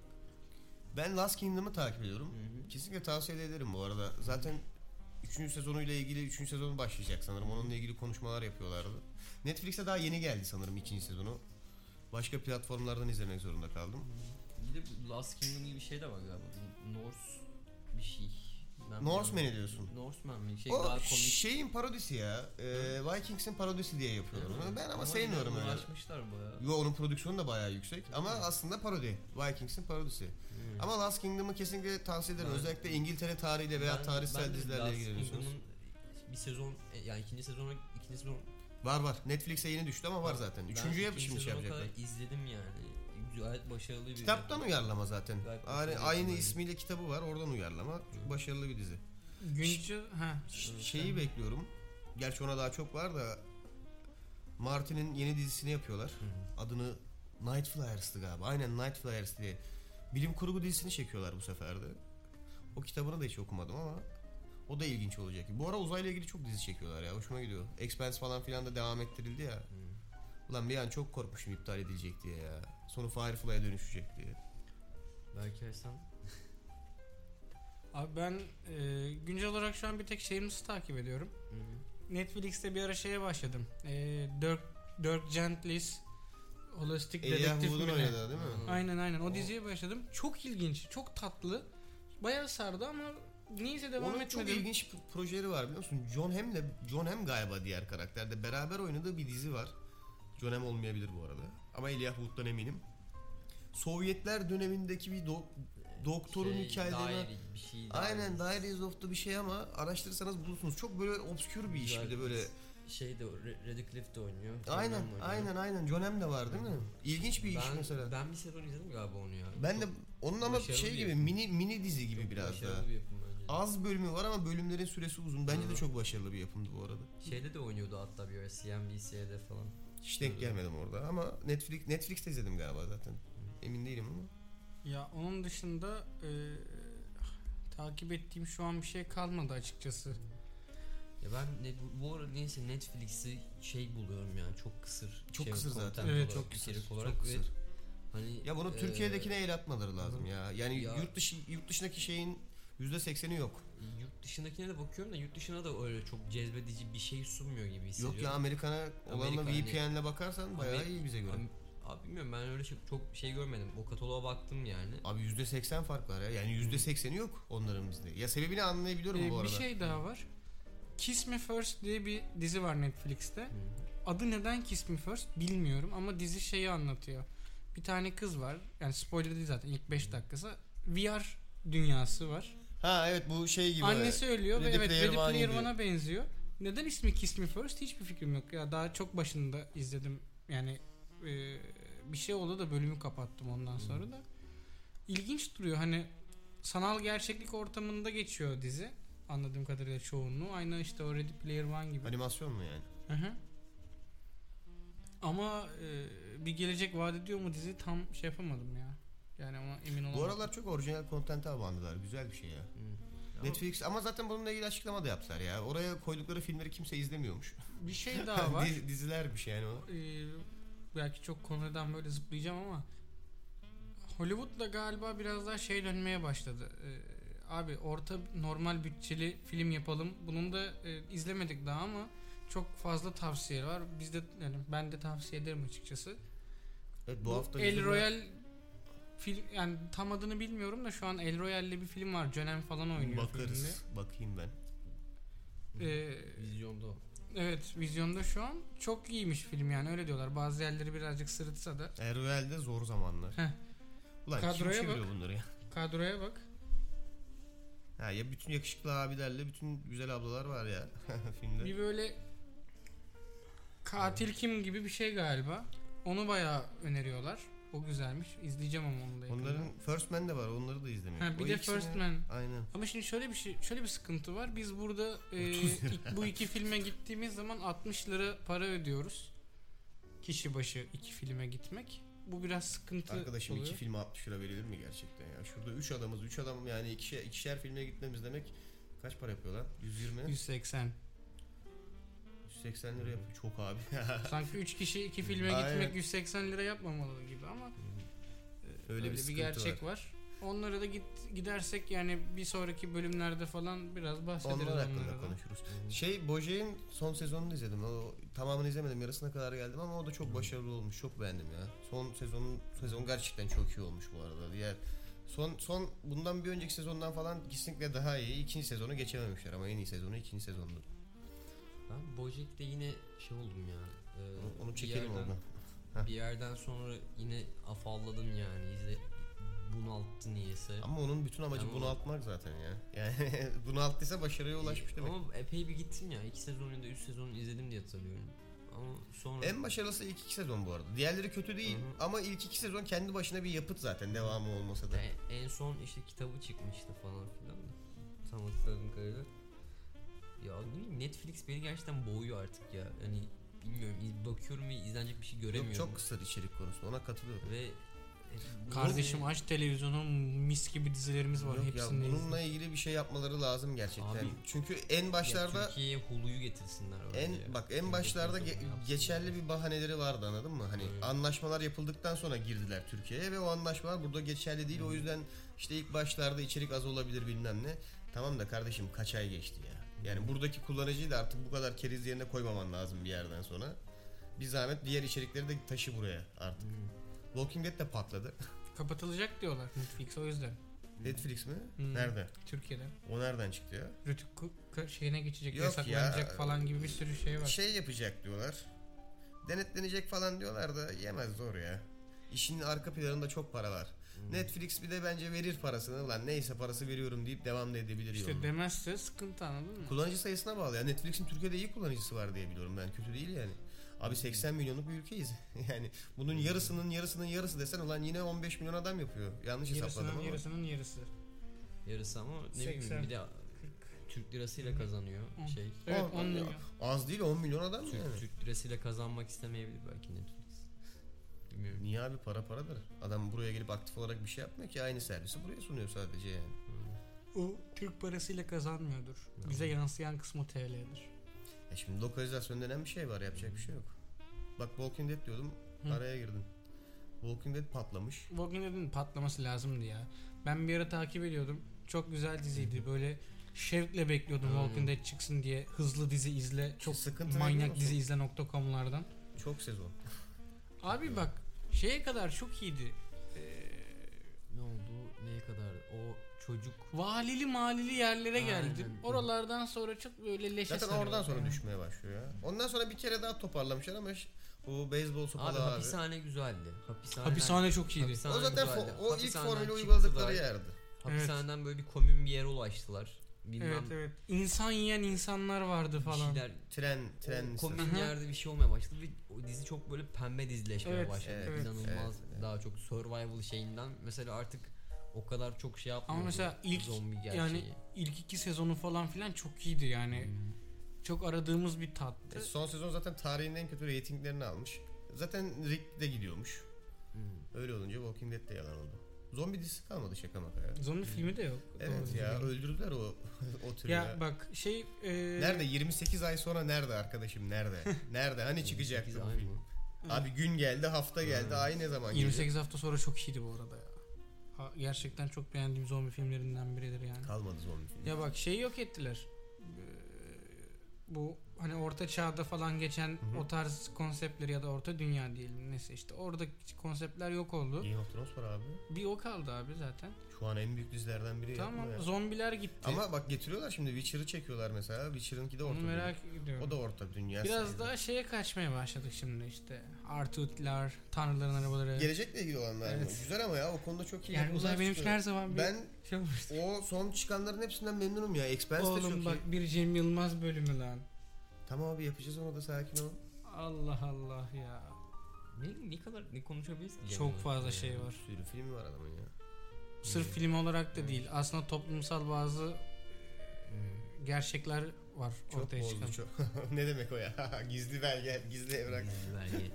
Speaker 4: Ben Last Kingdom'ı takip ediyorum.
Speaker 5: hı.
Speaker 4: Kesinlikle tavsiye ederim bu arada. Zaten 3. sezonuyla ilgili 3. sezon başlayacak sanırım. Onunla ilgili konuşmalar yapıyorlardı. Netflix'e daha yeni geldi sanırım 2. sezonu. Başka platformlardan izlemek zorunda kaldım.
Speaker 5: Bir de bu Last Kingdom gibi bir şey de var galiba. Norse bir şey. Ben
Speaker 4: Norseman'i
Speaker 5: bilmiyorum.
Speaker 4: diyorsun. Oh,
Speaker 5: Norseman mı? Şey
Speaker 4: o
Speaker 5: daha komik.
Speaker 4: şeyin parodisi ya. Ee, Vikings'in parodisi diye yapıyorlar onu. Ben ama, sevmiyorum öyle.
Speaker 5: Uğraşmışlar bayağı.
Speaker 4: Yo onun prodüksiyonu da bayağı yüksek ama aslında parodi. Viking's'in parodisi.
Speaker 5: Hmm.
Speaker 4: Ama Last Kingdom'ı kesinlikle tavsiye ederim.
Speaker 5: Ben-
Speaker 4: Özellikle İngiltere tarihiyle veya
Speaker 5: Ben-
Speaker 4: tarihsel
Speaker 5: ben de
Speaker 4: dizilerle
Speaker 5: Last
Speaker 4: ilgileniyorsunuz.
Speaker 5: Kingdom'un bir sezon e, yani ikinci sezona ikinci sezon
Speaker 4: Var var. Netflix'e yeni düştü ama var zaten.
Speaker 5: Ben
Speaker 4: Üçüncüye
Speaker 5: ikinci
Speaker 4: şimdi şey
Speaker 5: sezona kadar
Speaker 4: yapacaklar.
Speaker 5: izledim yani. Gayet başarılı bir
Speaker 4: Kitaptan uyarlama zaten.
Speaker 5: Gayet
Speaker 4: Aynı,
Speaker 5: başarılı
Speaker 4: aynı
Speaker 5: bir dizi.
Speaker 4: ismiyle kitabı var. Oradan uyarlama. Çok başarılı bir dizi.
Speaker 6: Güncel ha.
Speaker 4: Ş-
Speaker 5: Evet,
Speaker 4: Şeyi bekliyorum. Gerçi ona daha çok var da Martin'in yeni dizisini yapıyorlar. Adını Night Flyers'tı galiba. Aynen Night Flyers diye. Bilim kurgu dizisini çekiyorlar bu sefer de. O kitabını da hiç okumadım ama o da ilginç olacak. Bu ara uzayla ilgili çok dizi çekiyorlar ya. Hoşuma gidiyor. Expanse falan filan da devam ettirildi ya. Ulan bir an çok korkmuşum iptal edilecek diye ya. Sonu Firefly'a dönüşecek diye.
Speaker 5: Belki Ersan
Speaker 6: Abi ben e, güncel olarak şu an bir tek şeyimizi takip ediyorum. Netflix'te bir ara şeye başladım. Ee, Dirk, Dirk Gently's Holistik
Speaker 4: Elijah
Speaker 6: Dedektif
Speaker 4: Wood'un
Speaker 6: mi ne?
Speaker 4: oynadığı değil mi?
Speaker 5: Hı.
Speaker 6: Aynen aynen. O,
Speaker 5: O-
Speaker 6: diziye başladım. Çok ilginç, çok tatlı. Bayağı sardı ama niyeyse devam
Speaker 4: Onun çok
Speaker 6: etmedim.
Speaker 4: ilginç pro- projeleri var biliyor musun? John Hamm'le John Hamm galiba diğer karakterde beraber oynadığı bir dizi var. John Hamm olmayabilir bu arada. Ama Elijah Wood'dan eminim. Sovyetler dönemindeki bir do- doktorun
Speaker 5: şey,
Speaker 4: hikayelerini
Speaker 5: daire bir şey daire.
Speaker 4: Aynen Diaries of the bir şey ama araştırırsanız bulursunuz. Çok böyle obskür bir iş bir de böyle.
Speaker 5: şey de Re- Radcliffe de oynuyor.
Speaker 4: Aynen
Speaker 5: Oynuyor.
Speaker 4: aynen aynen John Hamm de var değil mi? İlginç bir iş
Speaker 5: ben,
Speaker 4: mesela. Ben,
Speaker 5: Ben bir sezon izledim galiba onu ya.
Speaker 4: de onun ama
Speaker 5: başarılı
Speaker 4: şey
Speaker 5: bir
Speaker 4: gibi
Speaker 5: yapım.
Speaker 4: mini mini dizi gibi
Speaker 5: Çok
Speaker 4: biraz
Speaker 5: başarılı
Speaker 4: daha.
Speaker 5: bir yapım bence.
Speaker 4: Az bölümü var ama bölümlerin süresi uzun. Bence de
Speaker 5: Hı.
Speaker 4: çok başarılı bir yapımdı bu arada.
Speaker 5: Şeyde de oynuyordu hatta bir ara CNBC'de falan.
Speaker 4: Hiç denk gelmedim orada ama Netflix Netflix'te izledim galiba zaten. Emin değilim ama.
Speaker 6: Ya onun dışında e, takip ettiğim şu an bir şey kalmadı açıkçası.
Speaker 5: Ya ben ne, bu, bu ara neyse Netflix'i şey buluyorum yani çok kısır.
Speaker 4: Çok
Speaker 5: şey,
Speaker 4: kısır
Speaker 5: content
Speaker 4: zaten.
Speaker 5: olarak,
Speaker 6: Evet, çok
Speaker 5: içerik
Speaker 4: kısır,
Speaker 5: Olarak
Speaker 4: çok
Speaker 5: ve
Speaker 4: kısır.
Speaker 5: Hani,
Speaker 4: Ya bunu
Speaker 5: e,
Speaker 4: Türkiye'dekine el atmaları lazım ya. Yani
Speaker 5: Ya-
Speaker 4: yurt dışı yurt dışındaki şeyin %80'i yok.
Speaker 5: Yurt dışındakine de bakıyorum da yurt dışına da öyle çok cezbedici bir şey sunmuyor gibi hissediyorum.
Speaker 4: Yok ya Amerikan'a olanla
Speaker 5: Amerika hani-
Speaker 4: VPN'le bakarsan bayağı
Speaker 5: Ameri-
Speaker 4: iyi bize göre.
Speaker 5: Am- Abi bilmiyorum ben öyle şey, çok şey görmedim. O kataloğa baktım yani.
Speaker 4: Abi %80 fark var ya. Yani %80'i yok onların bizde. Ya sebebini
Speaker 5: Ee,
Speaker 4: anlayabiliyorum
Speaker 5: şey-
Speaker 6: E,
Speaker 4: bu arada.
Speaker 6: bir şey daha var. Kiss Me First diye bir dizi var Netflix'te.
Speaker 5: Hı.
Speaker 6: adı neden Kiss Me First bilmiyorum ama dizi şeyi anlatıyor. Bir tane kız var. Yani spoiler değil zaten ilk 5 dakikası. VR dünyası var.
Speaker 4: Ha evet bu şey gibi.
Speaker 6: Annesi ölüyor ve
Speaker 4: Ready
Speaker 6: evet
Speaker 4: Player
Speaker 6: Ready Player
Speaker 4: One'ydi.
Speaker 6: One'a benziyor. Neden ismi Kiss Me First hiçbir fikrim yok. Ya daha çok başında izledim. Yani e, bir şey oldu da bölümü kapattım ondan sonra da. İlginç duruyor hani sanal gerçeklik ortamında geçiyor dizi. Anladığım kadarıyla çoğunluğu. Aynı işte o Ready Player One gibi.
Speaker 4: Animasyon mu yani?
Speaker 6: Hı hı. Ama e, bir gelecek vaat ediyor mu dizi tam şey yapamadım ya. Yani ona emin olamadım.
Speaker 4: Bu aralar çok orijinal kontente abandılar. Güzel bir şey ya.
Speaker 5: Ama
Speaker 4: Netflix ama zaten bununla ilgili açıklama da yaptılar ya. Oraya koydukları filmleri kimse izlemiyormuş.
Speaker 6: [laughs] bir
Speaker 4: [laughs]
Speaker 6: şey daha var.
Speaker 4: Diz- Dizilermiş yani o.
Speaker 6: Ee, belki çok konudan böyle zıplayacağım ama Hollywood'da galiba biraz daha şey dönmeye başladı. Ee, abi orta normal bütçeli film yapalım. Bunun da e, izlemedik daha ama çok fazla tavsiye var. Biz de yani ben de tavsiye ederim açıkçası.
Speaker 4: Evet bu, hafta
Speaker 6: El
Speaker 4: yüzüme-
Speaker 6: Royal film yani tam adını bilmiyorum da şu an El Royal'li bir film var. Jonem falan oynuyor filmde.
Speaker 4: Bakarız. Bakayım ben.
Speaker 6: Ee,
Speaker 5: Vizyonda o.
Speaker 6: evet vizyonda şu an çok iyiymiş film yani öyle diyorlar. Bazı yerleri birazcık sırıtsa da
Speaker 4: El Royal'de zor zamanlar.
Speaker 6: Heh.
Speaker 4: Ulan kim
Speaker 6: Kadroya
Speaker 4: çeviriyor bunları ya?
Speaker 6: kadroya bak.
Speaker 4: Ha, ya bütün yakışıklı abilerle bütün güzel ablalar var ya [laughs] filmde.
Speaker 6: Bir böyle katil kim gibi bir şey galiba. Onu bayağı öneriyorlar. O güzelmiş. İzleyeceğim ama onu da. yakında.
Speaker 4: Onların First Man de var. Onları da izlemiyor.
Speaker 6: ha, bir
Speaker 4: O
Speaker 6: de
Speaker 4: ikisini-
Speaker 6: First Man.
Speaker 4: Aynen.
Speaker 6: Ama şimdi şöyle bir şey, şöyle bir sıkıntı var. Biz burada e, ik- bu iki filme gittiğimiz zaman 60 lira para ödüyoruz. Kişi başı iki filme gitmek. Bu biraz sıkıntı
Speaker 4: Arkadaşım
Speaker 6: oluyor.
Speaker 4: iki filme 60 lira verilir mi gerçekten ya? Şurada üç adamız. Üç adam yani ikişer, ikişer filme gitmemiz demek kaç para yapıyor lan? 120? [laughs]
Speaker 6: 180.
Speaker 4: 180 lira yapıyor. Çok abi.
Speaker 6: Sanki 3 kişi iki filme
Speaker 4: Aynen. Hmm.
Speaker 6: gitmek 180 lira yapmamalı gibi ama e,
Speaker 4: Öyle bir
Speaker 6: öyle, bir,
Speaker 4: sıkıntı
Speaker 6: gerçek var. Onlara da git, gidersek yani bir sonraki bölümlerde falan biraz bahsederiz
Speaker 4: Onlar
Speaker 6: onlara
Speaker 4: hakkında
Speaker 6: da.
Speaker 4: konuşuruz. Şey Bojack'in son sezonunu izledim. O, tamamını izlemedim. Yarısına kadar geldim ama o da çok başarılı olmuş. Çok beğendim ya. Son sezonun sezon gerçekten çok iyi olmuş bu arada. Diğer son son bundan bir önceki sezondan falan kesinlikle daha iyi. İkinci sezonu geçememişler ama en iyi sezonu ikinci sezondu.
Speaker 5: Ben Bojack'te yine şey oldum ya. e,
Speaker 4: Onu, onu
Speaker 5: bir
Speaker 4: çekelim
Speaker 5: yerden-
Speaker 4: oradan.
Speaker 5: Bir yerden sonra yine afalladım yani. İzle, bunalttı niyeyse.
Speaker 4: Ama onun bütün amacı
Speaker 5: Tamam.
Speaker 4: bunu bunaltmak zaten ya. Yani [laughs] bunalttıysa başarıya ulaşmış demek.
Speaker 5: Ama epey bir gittim ya. 2 sezon ya da 3 sezon izledim diye hatırlıyorum. Ama sonra
Speaker 4: En başarılısı ilk iki sezon bu arada. Diğerleri kötü değil
Speaker 5: Hı hı.
Speaker 4: ama ilk iki sezon kendi başına bir yapıt zaten devamı olmasa da.
Speaker 5: E- en son işte kitabı çıkmıştı falan filan. da. Tam hatırladığım kadarıyla. Ya ne bileyim, Netflix beni gerçekten boğuyor artık ya. Hani bilmiyorum iz- bakıyorum ve izlenecek bir şey göremiyorum.
Speaker 4: Yok çok kısır içerik konusunda ona katılıyorum.
Speaker 5: Ve e, bu-
Speaker 6: Kardeşim aç televizyonu mis gibi dizilerimiz var
Speaker 4: Yok ya,
Speaker 6: hepsinde.
Speaker 4: bununla ilgili bir şey yapmaları lazım gerçekten.
Speaker 5: Abi-
Speaker 4: Çünkü en
Speaker 5: Ya
Speaker 4: başlarda
Speaker 5: Türkiye'ye Hulu'yu getirsinler.
Speaker 4: en
Speaker 5: bence ya.
Speaker 4: bak en
Speaker 5: Türkiye'de
Speaker 4: başlarda
Speaker 5: Hulu'yu
Speaker 4: ge-
Speaker 5: yapsınlar.
Speaker 4: geçerli bir bahaneleri vardı anladın mı? Hani
Speaker 5: Evet.
Speaker 4: anlaşmalar yapıldıktan sonra girdiler Türkiye'ye ve o anlaşmalar burada geçerli değil. O yüzden işte ilk başlarda içerik az olabilir bilmem ne. Tamam da kardeşim kaç ay geçti ya. Yani buradaki kullanıcıyı da artık bu kadar keriz yerine koymaman lazım bir yerden sonra. Bir zahmet diğer içerikleri de taşı buraya artık. Walking Dead de patladı.
Speaker 6: Kapatılacak diyorlar Netflix o yüzden.
Speaker 4: Netflix mi?
Speaker 6: Hmm.
Speaker 4: Nerede?
Speaker 6: Türkiye'de.
Speaker 4: O nereden çıktı ya?
Speaker 6: Rütük ka- şeyine geçecek,
Speaker 4: Yok
Speaker 6: yasaklanacak
Speaker 4: ya.
Speaker 6: falan gibi bir sürü şey var.
Speaker 4: Şey yapacak diyorlar. Denetlenecek falan diyorlar da yemez zor ya. İşin arka planında çok para var.
Speaker 6: Hmm.
Speaker 4: Netflix bir de bence verir parasını. Lan neyse parası veriyorum deyip devam da edebilir
Speaker 6: İşte
Speaker 4: yoluna.
Speaker 6: demezse sıkıntı anladın mı?
Speaker 4: Kullanıcı sayısına bağlı ya. Netflix'in Türkiye'de iyi kullanıcısı var diye biliyorum ben. Kötü değil yani.
Speaker 6: Hmm.
Speaker 4: Abi 80 milyonluk bir ülkeyiz. [laughs] yani bunun yarısının yarısının yarısı desen ulan yine 15 milyon adam yapıyor. Yanlış hesapladım
Speaker 6: Yarısının
Speaker 4: ama.
Speaker 6: yarısının yarısı.
Speaker 5: Yarısı ama ne bileyim
Speaker 6: 80.
Speaker 5: bir de Türk lirasıyla kazanıyor
Speaker 6: Hı.
Speaker 5: şey.
Speaker 6: Evet
Speaker 4: On-
Speaker 6: 10 milyon.
Speaker 4: Az değil 10 milyon adam
Speaker 5: Türk,
Speaker 4: yani.
Speaker 5: Türk lirasıyla kazanmak istemeyebilir belki Netflix. Bilmiyorum.
Speaker 4: Niye abi para paradır. Adam buraya gelip aktif olarak bir şey yapmıyor ki. Aynı servisi buraya sunuyor sadece yani.
Speaker 6: O Türk parasıyla kazanmıyordur. Bize yansıyan kısmı TL'dir.
Speaker 4: E şimdi lokalizasyon denen bir şey var yapacak bir şey yok. Bak Walking Dead diyordum
Speaker 6: Hı.
Speaker 4: araya girdin. Walking Dead patlamış.
Speaker 6: Walking Dead'in patlaması lazımdı ya. Ben bir ara takip ediyordum. Çok güzel diziydi. Böyle şevkle bekliyordum
Speaker 5: Aynen.
Speaker 6: Walking Dead çıksın diye. Hızlı dizi izle. Çok
Speaker 4: sıkıntı biliyor
Speaker 6: manyak
Speaker 4: musun?
Speaker 6: dizi izle nokta.com'lardan.
Speaker 4: Çok sezon.
Speaker 6: Abi bak şeye kadar çok iyiydi. Ee,
Speaker 5: Ne oldu? Ne şeye kadar o çocuk
Speaker 6: Valili malili yerlere
Speaker 5: Aynen.
Speaker 6: geldim. Oralardan sonra çok böyle leşe
Speaker 4: Zaten
Speaker 6: sarıyor.
Speaker 4: oradan sonra
Speaker 6: Yani.
Speaker 4: düşmeye başlıyor ya. Ondan sonra bir kere daha toparlamışlar ama ş- bu beyzbol
Speaker 5: Abi
Speaker 4: sopalı abi.
Speaker 5: hapishane güzeldi. Hapishaneden,
Speaker 6: Hapishane çok iyiydi.
Speaker 5: hapishaneden
Speaker 4: O zaten fo-
Speaker 5: güzeldi.
Speaker 4: o ilk
Speaker 5: Hapishaneden
Speaker 4: formülü
Speaker 5: çıktılar,
Speaker 4: uyguladıkları yerdi.
Speaker 5: Hapishaneden böyle bir komün bir yere ulaştılar. Bilmem
Speaker 6: Evet evet. İnsan yiyen insanlar vardı
Speaker 5: bir
Speaker 6: falan.
Speaker 5: şeyler
Speaker 4: Tren tren
Speaker 5: Tren
Speaker 4: listesi.
Speaker 5: komün
Speaker 6: Hı hı.
Speaker 5: Ee, yerde bir şey olmaya başladı ve o dizi çok böyle pembe dizileşmeye
Speaker 6: Evet,
Speaker 5: başladı.
Speaker 4: evet,
Speaker 5: İnanılmaz
Speaker 4: evet, evet.
Speaker 5: daha çok survival şeyinden mesela artık o kadar çok şey yapmıyor.
Speaker 6: mesela ilk-
Speaker 5: zombi gerçeği.
Speaker 6: yani İlk iki sezonu falan filan çok iyiydi yani.
Speaker 4: Hmm.
Speaker 6: Çok aradığımız bir tattı.
Speaker 4: E, Son sezon zaten tarihin en kötü reytinglerini almış. Zaten Rick de gidiyormuş.
Speaker 5: Hmm.
Speaker 4: Öyle olunca Walking Dead de yalan oldu. Zombi dizisi kalmadı şaka maka ya.
Speaker 6: Zombi filmi de yok.
Speaker 4: Hmm. Evet
Speaker 6: Doğru
Speaker 4: ya
Speaker 6: düzgün.
Speaker 4: öldürdüler o [laughs] o türü
Speaker 6: Ya
Speaker 4: ya.
Speaker 6: bak şey e,
Speaker 4: Nerede 28 ay sonra nerede arkadaşım [laughs] nerede? Nerede? Hani
Speaker 5: 28
Speaker 4: çıkacaktı bu
Speaker 5: ay
Speaker 4: film?
Speaker 5: mı?
Speaker 4: Abi gün geldi, hafta geldi,
Speaker 5: Ha.
Speaker 4: ay ne zaman gelecek?
Speaker 6: 28 hafta sonra çok iyiydi bu arada ya. Ha, gerçekten çok beğendiğim zombi filmlerinden biridir yani.
Speaker 4: Kalmadı zombi filmi.
Speaker 6: Ya bak şeyi yok ettiler. Ee, Bu hani orta çağda falan geçen
Speaker 4: hı.
Speaker 6: o tarz konseptler ya da orta dünya diyelim neyse işte oradaki konseptler yok oldu.
Speaker 4: Game of Thrones var abi.
Speaker 6: Bir o kaldı abi zaten.
Speaker 4: Şu an en büyük dizilerden biri.
Speaker 6: tamam
Speaker 4: yapma ya.
Speaker 6: zombiler gitti.
Speaker 4: Ama bak getiriyorlar şimdi Witcher'ı çekiyorlar mesela. Witcher'ınki de orta
Speaker 6: Onu
Speaker 4: dünya.
Speaker 6: merak ediyorum.
Speaker 4: O da orta dünya.
Speaker 6: Biraz
Speaker 4: sayılır.
Speaker 6: daha şeye kaçmaya başladık şimdi işte. Artutlar, tanrıların arabaları.
Speaker 4: Gelecekle ilgili olanlar mı?
Speaker 6: Evet.
Speaker 4: Güzel ama ya o konuda çok iyi.
Speaker 6: yani
Speaker 4: yapımlar
Speaker 6: uzay benim için
Speaker 4: çıkıyor.
Speaker 6: her zaman bir
Speaker 4: Ben
Speaker 6: şey olmuştu.
Speaker 4: o son çıkanların hepsinden memnunum ya. Expanse de çok
Speaker 6: Oğlum bak
Speaker 4: iyi.
Speaker 6: bir Cem Yılmaz bölümü lan.
Speaker 4: Tamam abi yapacağız onu da sakin ol.
Speaker 6: Allah Allah ya.
Speaker 5: Ne, ne kadar ne konuşabiliriz ki?
Speaker 6: Çok
Speaker 5: yani?
Speaker 6: fazla
Speaker 5: Yani.
Speaker 6: şey var.
Speaker 4: Bir sürü filmi var adamın ya.
Speaker 6: Sırf
Speaker 5: Evet.
Speaker 6: film olarak da
Speaker 5: Evet.
Speaker 6: değil. Aslında toplumsal bazı
Speaker 5: Evet.
Speaker 6: gerçekler var
Speaker 4: Çok
Speaker 6: ortaya çıkan.
Speaker 4: bozdu çok. ne demek o [laughs] ya? gizli belge, gizli evrak.
Speaker 5: Gizli belge.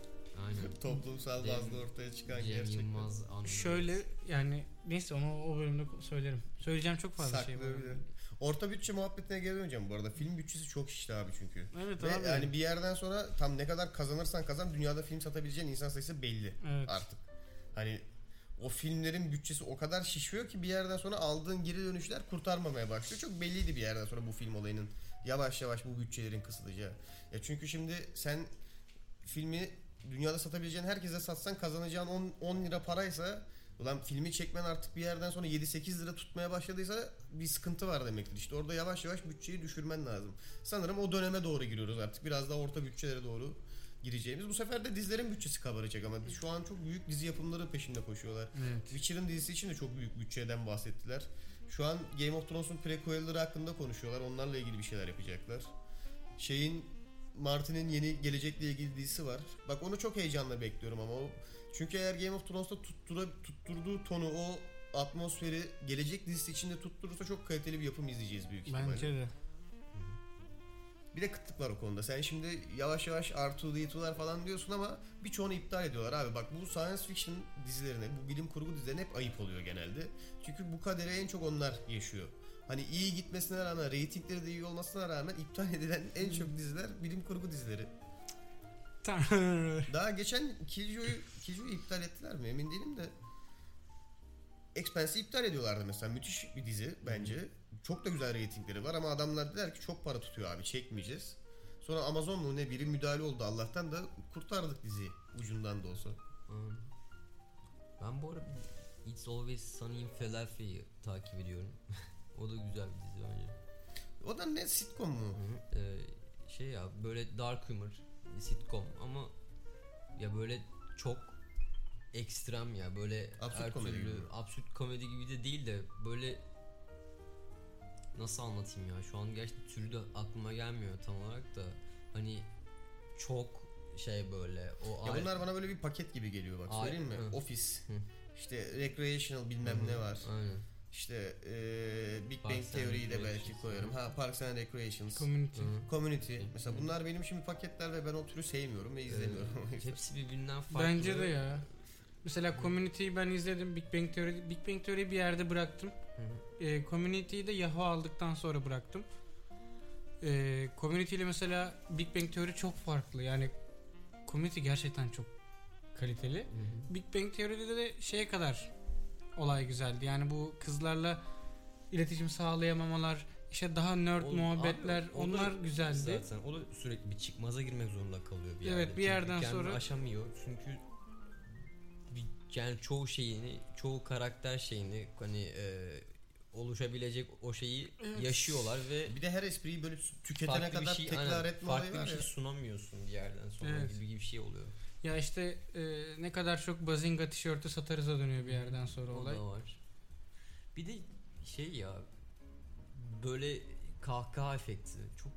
Speaker 5: Aynen.
Speaker 4: Toplumsal
Speaker 5: Cem-
Speaker 4: bazda ortaya çıkan
Speaker 5: Cem
Speaker 4: gerçekler.
Speaker 5: Yılmaz anlıyor.
Speaker 6: Şöyle yani neyse onu o bölümde söylerim. Söyleyeceğim çok fazla şey var.
Speaker 4: Saklayabilirim. Orta bütçe muhabbetine geri döneceğim bu arada. Film bütçesi çok şişti abi çünkü.
Speaker 6: Evet
Speaker 4: Ve
Speaker 6: abi.
Speaker 4: yani bir yerden sonra tam ne kadar kazanırsan kazan dünyada film satabileceğin insan sayısı belli
Speaker 6: evet.
Speaker 4: artık. Hani o filmlerin bütçesi o kadar şişiyor ki bir yerden sonra aldığın geri dönüşler kurtarmamaya başlıyor. Çok belliydi bir yerden sonra bu film olayının yavaş yavaş bu bütçelerin kısılacağı. Ya çünkü şimdi sen filmi dünyada satabileceğin herkese satsan kazanacağın 10, 10 lira paraysa ulan filmi çekmen artık bir yerden sonra 7-8 lira tutmaya başladıysa bir sıkıntı var demektir. İşte orada yavaş yavaş bütçeyi düşürmen lazım. Sanırım o döneme doğru giriyoruz artık. Biraz daha orta bütçelere doğru gireceğimiz. Bu sefer de dizilerin bütçesi kabaracak ama şu an çok büyük dizi yapımları peşinde koşuyorlar.
Speaker 6: Evet.
Speaker 4: Witcher'ın dizisi için de çok büyük bütçeden bahsettiler. Şu an Game of Thrones'un prequel'ları hakkında konuşuyorlar. Onlarla ilgili bir şeyler yapacaklar. Şeyin Martin'in yeni gelecekle ilgili dizisi var. Bak onu çok heyecanla bekliyorum ama o çünkü eğer Game of Thrones'ta tuttura, tutturduğu tonu o atmosferi gelecek dizisi içinde tutturursa çok kaliteli bir yapım izleyeceğiz büyük ihtimalle.
Speaker 6: Bence de.
Speaker 4: Bir de kıtlık var o konuda. Sen şimdi yavaş yavaş R2D2'lar falan diyorsun ama birçoğunu iptal ediyorlar abi. Bak bu science fiction dizilerine, bu bilim kurgu dizilerine hep ayıp oluyor genelde. Çünkü bu kadere en çok onlar yaşıyor. Hani iyi gitmesine rağmen, reytingleri de iyi olmasına rağmen iptal [laughs] edilen en çok diziler bilim kurgu dizileri. [laughs]
Speaker 6: Tanrı.
Speaker 4: Daha geçen Killjoy'u Killjoy'u iptal ettiler mi emin değilim de. Expense'i iptal ediyorlardı mesela. Müthiş bir dizi bence. Çok da güzel reytingleri var ama adamlar dediler ki çok para tutuyor abi çekmeyeceğiz. Sonra Amazon mu ne biri müdahale oldu Allah'tan da kurtardık diziyi ucundan da olsa.
Speaker 5: Aynen. Um, Ben bu ara bir It's Always Sunny in Philadelphia'yı takip ediyorum. [laughs] o da güzel bir dizi bence.
Speaker 4: O da ne sitcom mu?
Speaker 5: Ee, şey ya böyle dark humor sitcom ama ya böyle çok ekstrem ya böyle
Speaker 4: Absürt
Speaker 5: her
Speaker 4: komedi
Speaker 5: türlü
Speaker 4: gibi mi?
Speaker 5: absürt komedi gibi de değil de böyle nasıl anlatayım ya şu an gerçekten türü de aklıma gelmiyor tam olarak da hani çok şey böyle o
Speaker 4: Ya
Speaker 5: aile-
Speaker 4: bunlar bana böyle bir paket gibi geliyor bak
Speaker 5: Ay-
Speaker 4: söyleyeyim mi?
Speaker 5: Hı.
Speaker 4: Office.
Speaker 5: Hı.
Speaker 4: işte recreational bilmem ne var.
Speaker 5: Aynen.
Speaker 4: İşte eee Big
Speaker 5: Parks
Speaker 4: Bang
Speaker 5: and
Speaker 4: Theory'yi de
Speaker 5: Recreations.
Speaker 4: belki koyarım. Ha Parks and Recreations.
Speaker 6: Community.
Speaker 5: Hı.
Speaker 4: Community. Mesela bunlar benim şimdi paketler ve ben o türü sevmiyorum ve izlemiyorum. [laughs]
Speaker 5: Ee, hepsi birbirinden farklı.
Speaker 6: Bence de ya. Mesela Community'yi ben izledim. Big Bang Theory, Big Bang Theory'yi bir yerde bıraktım.
Speaker 5: Hı hı.
Speaker 6: E, Community'yi de Yahoo aldıktan sonra bıraktım. E, Community ile mesela Big Bang Theory çok farklı. Yani Community gerçekten çok kaliteli.
Speaker 5: Hı hı.
Speaker 6: Big Bang Theory'de de şeye kadar olay güzeldi. Yani bu kızlarla iletişim sağlayamamalar, işte daha nerd
Speaker 5: Oğlum,
Speaker 6: muhabbetler
Speaker 5: abi, o da
Speaker 6: onlar güzeldi.
Speaker 5: Zaten o da sürekli bir çıkmaza girmek zorunda kalıyor
Speaker 6: Evet,
Speaker 5: bir yerde.
Speaker 6: bir
Speaker 5: Çünkü
Speaker 6: yerden
Speaker 5: kendini
Speaker 6: sonra-
Speaker 5: aşamıyor çünkü bir yani çoğu şeyini, çoğu karakter şeyini hani e, oluşabilecek o şeyi yaşıyorlar ve
Speaker 4: Bir de her espriyi böyle tüketene
Speaker 5: farklı bir
Speaker 4: kadar
Speaker 5: şey,
Speaker 4: tekrar
Speaker 5: aynen,
Speaker 4: etme olayı
Speaker 5: farklı
Speaker 4: var
Speaker 5: bir şey
Speaker 4: ya.
Speaker 5: sunamıyorsun bir yerden sonra
Speaker 6: Evet.
Speaker 5: gibi bir şey oluyor.
Speaker 6: Ya işte e, ne kadar çok bazinga tişörtü satarıza dönüyor bir yerden sonra
Speaker 5: O
Speaker 6: olay.
Speaker 5: da var. Bir de şey ya böyle kahkaha efekti çok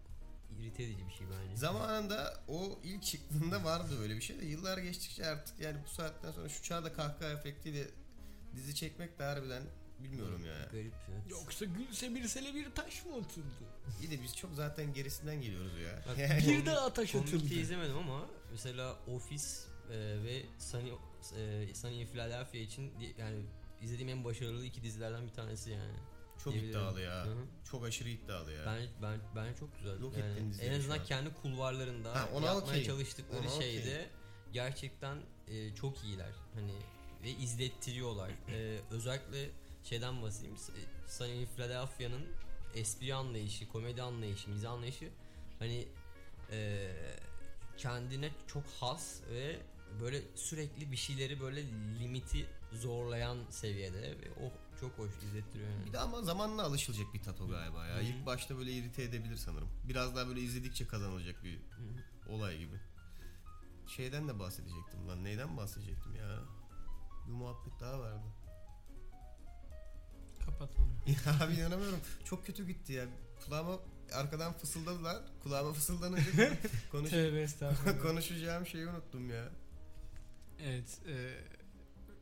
Speaker 5: irite edici bir şey bence.
Speaker 4: Zamanında o ilk çıktığında vardı böyle bir şey de yıllar geçtikçe artık yani bu saatten sonra şu çağda kahkaha efektiyle dizi çekmek de harbiden bilmiyorum ya.
Speaker 5: Garip ya.
Speaker 6: Yoksa gülse birsele bir taş mı atıldı?
Speaker 4: İyi de biz çok zaten gerisinden geliyoruz ya. [laughs]
Speaker 5: Bak,
Speaker 6: Bir daha taş
Speaker 5: Komikte
Speaker 6: atıldı.
Speaker 5: izlemedim ama mesela Office e, ve Sunny, e, Sunny in Philadelphia için di- yani izlediğim en başarılı iki dizilerden bir tanesi yani.
Speaker 4: Çok
Speaker 5: Diyebilirim.
Speaker 4: iddialı ya.
Speaker 5: Hı hı.
Speaker 4: Çok aşırı iddialı ya.
Speaker 5: Ben ben ben çok güzel.
Speaker 4: Yok
Speaker 5: Yani
Speaker 4: ettiğin dizileri
Speaker 5: en
Speaker 4: şu
Speaker 5: azından
Speaker 4: an.
Speaker 5: kendi kulvarlarında
Speaker 4: Ha, ona
Speaker 5: yapmaya
Speaker 4: okeyim.
Speaker 5: çalıştıkları
Speaker 4: Ona
Speaker 5: şeyde
Speaker 4: okeyim.
Speaker 5: gerçekten e, çok iyiler. Hani ve
Speaker 4: [clears throat]
Speaker 5: izlettiriyorlar. E, özellikle şeyden bahsedeyim. S- e, Sunny in Philadelphia'nın espri anlayışı, komedi anlayışı, mizah anlayışı hani e, kendine çok has ve böyle sürekli bir şeyleri böyle limiti zorlayan seviyede ve o çok hoş izlettiriyor yani.
Speaker 4: Bir de ama zamanla alışılacak bir tato galiba ya.
Speaker 5: Hı hı.
Speaker 4: İlk başta böyle irite edebilir sanırım. Biraz daha böyle izledikçe kazanılacak bir olay gibi. Şeyden de bahsedecektim lan. Neyden bahsedecektim ya? Bir muhabbet daha vardı. [laughs]
Speaker 6: Kapat onu.
Speaker 4: Ya abi inanamıyorum. Çok kötü gitti ya. Kulağıma arkadan fısıldadılar. Kulağıma fısıldanınca
Speaker 6: [laughs]
Speaker 4: konuş
Speaker 6: Tövbe estağfurullah.
Speaker 4: [laughs] konuşacağım şeyi unuttum ya.
Speaker 6: evet. E,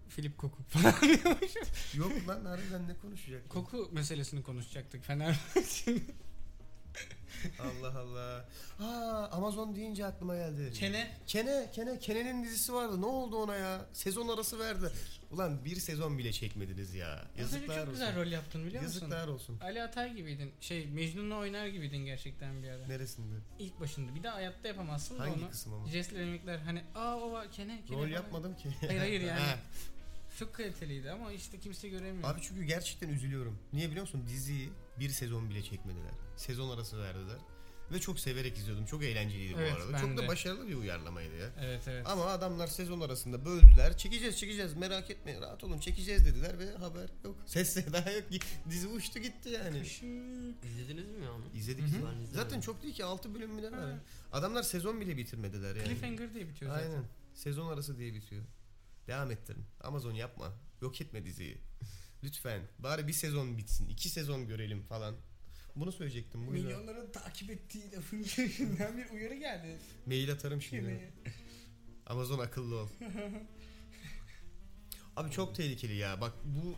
Speaker 6: Filip Koku falan [laughs] diyormuşum.
Speaker 4: Yok lan harbiden ne konuşacak?
Speaker 6: Koku meselesini konuşacaktık Fenerbahçe'nin.
Speaker 4: Allah Allah. Ha Amazon deyince aklıma geldi.
Speaker 6: Çene.
Speaker 4: Kene, Kene, Kene'nin dizisi vardı. Ne oldu ona ya? Sezon arası verdi. Ulan bir sezon bile çekmediniz ya.
Speaker 6: Az önce
Speaker 4: Yazıklar
Speaker 6: çok
Speaker 4: olsun.
Speaker 6: güzel rol yaptın biliyor musun?
Speaker 4: Yazıklar olsun.
Speaker 6: Ali Atay gibiydin. Şey Mecnun'la oynar gibiydin gerçekten bir ara.
Speaker 4: Neresinde?
Speaker 6: İlk başında. Bir daha hayatta yapamazsın da
Speaker 4: Hangi
Speaker 6: onu.
Speaker 4: kısım ama?
Speaker 6: Jestle mimikler hani aa o var kene kene.
Speaker 4: Rol
Speaker 6: falan."
Speaker 4: yapmadım ki.
Speaker 6: Hayır hayır yani.
Speaker 4: Ha.
Speaker 6: Çok kaliteliydi ama işte kimse göremiyor.
Speaker 4: [laughs] Abi çünkü gerçekten üzülüyorum. Niye biliyor musun? Diziyi bir sezon bile çekmediler. Sezon arası verdiler. Ve çok severek izliyordum. Çok eğlenceliydi
Speaker 6: Evet,
Speaker 4: bu arada.
Speaker 6: ben
Speaker 4: Çok da
Speaker 6: de.
Speaker 4: başarılı bir uyarlamaydı ya.
Speaker 6: [laughs] Evet evet.
Speaker 4: Ama adamlar sezon arasında böldüler. Çekeceğiz çekeceğiz merak etmeyin rahat olun çekeceğiz dediler ve haber yok. [laughs] Ses daha yok. Dizi uçtu gitti yani.
Speaker 5: İzlediniz mi ya onu?
Speaker 4: İzledik.
Speaker 5: Hı hı.
Speaker 4: zaten.
Speaker 5: Ben izlemedim.
Speaker 4: Zaten çok değil ki 6 bölüm mü ne var.
Speaker 6: Ha.
Speaker 4: ya. Adamlar sezon bile bitirmediler yani.
Speaker 6: Cliffhanger diye bitiyor zaten.
Speaker 4: Aynen. Sezon arası diye bitiyor. Devam ettirin. Amazon yapma. Yok etme diziyi. [laughs] Lütfen. Bari bir sezon bitsin. iki sezon görelim falan. Bunu söyleyecektim. Bu yüzden.
Speaker 6: Milyonların takip ettiği lafın köşesinden bir uyarı geldi.
Speaker 4: Mail atarım şimdi.
Speaker 6: Yemeğe.
Speaker 4: Amazon akıllı ol. Abi çok tehlikeli ya. Bak bu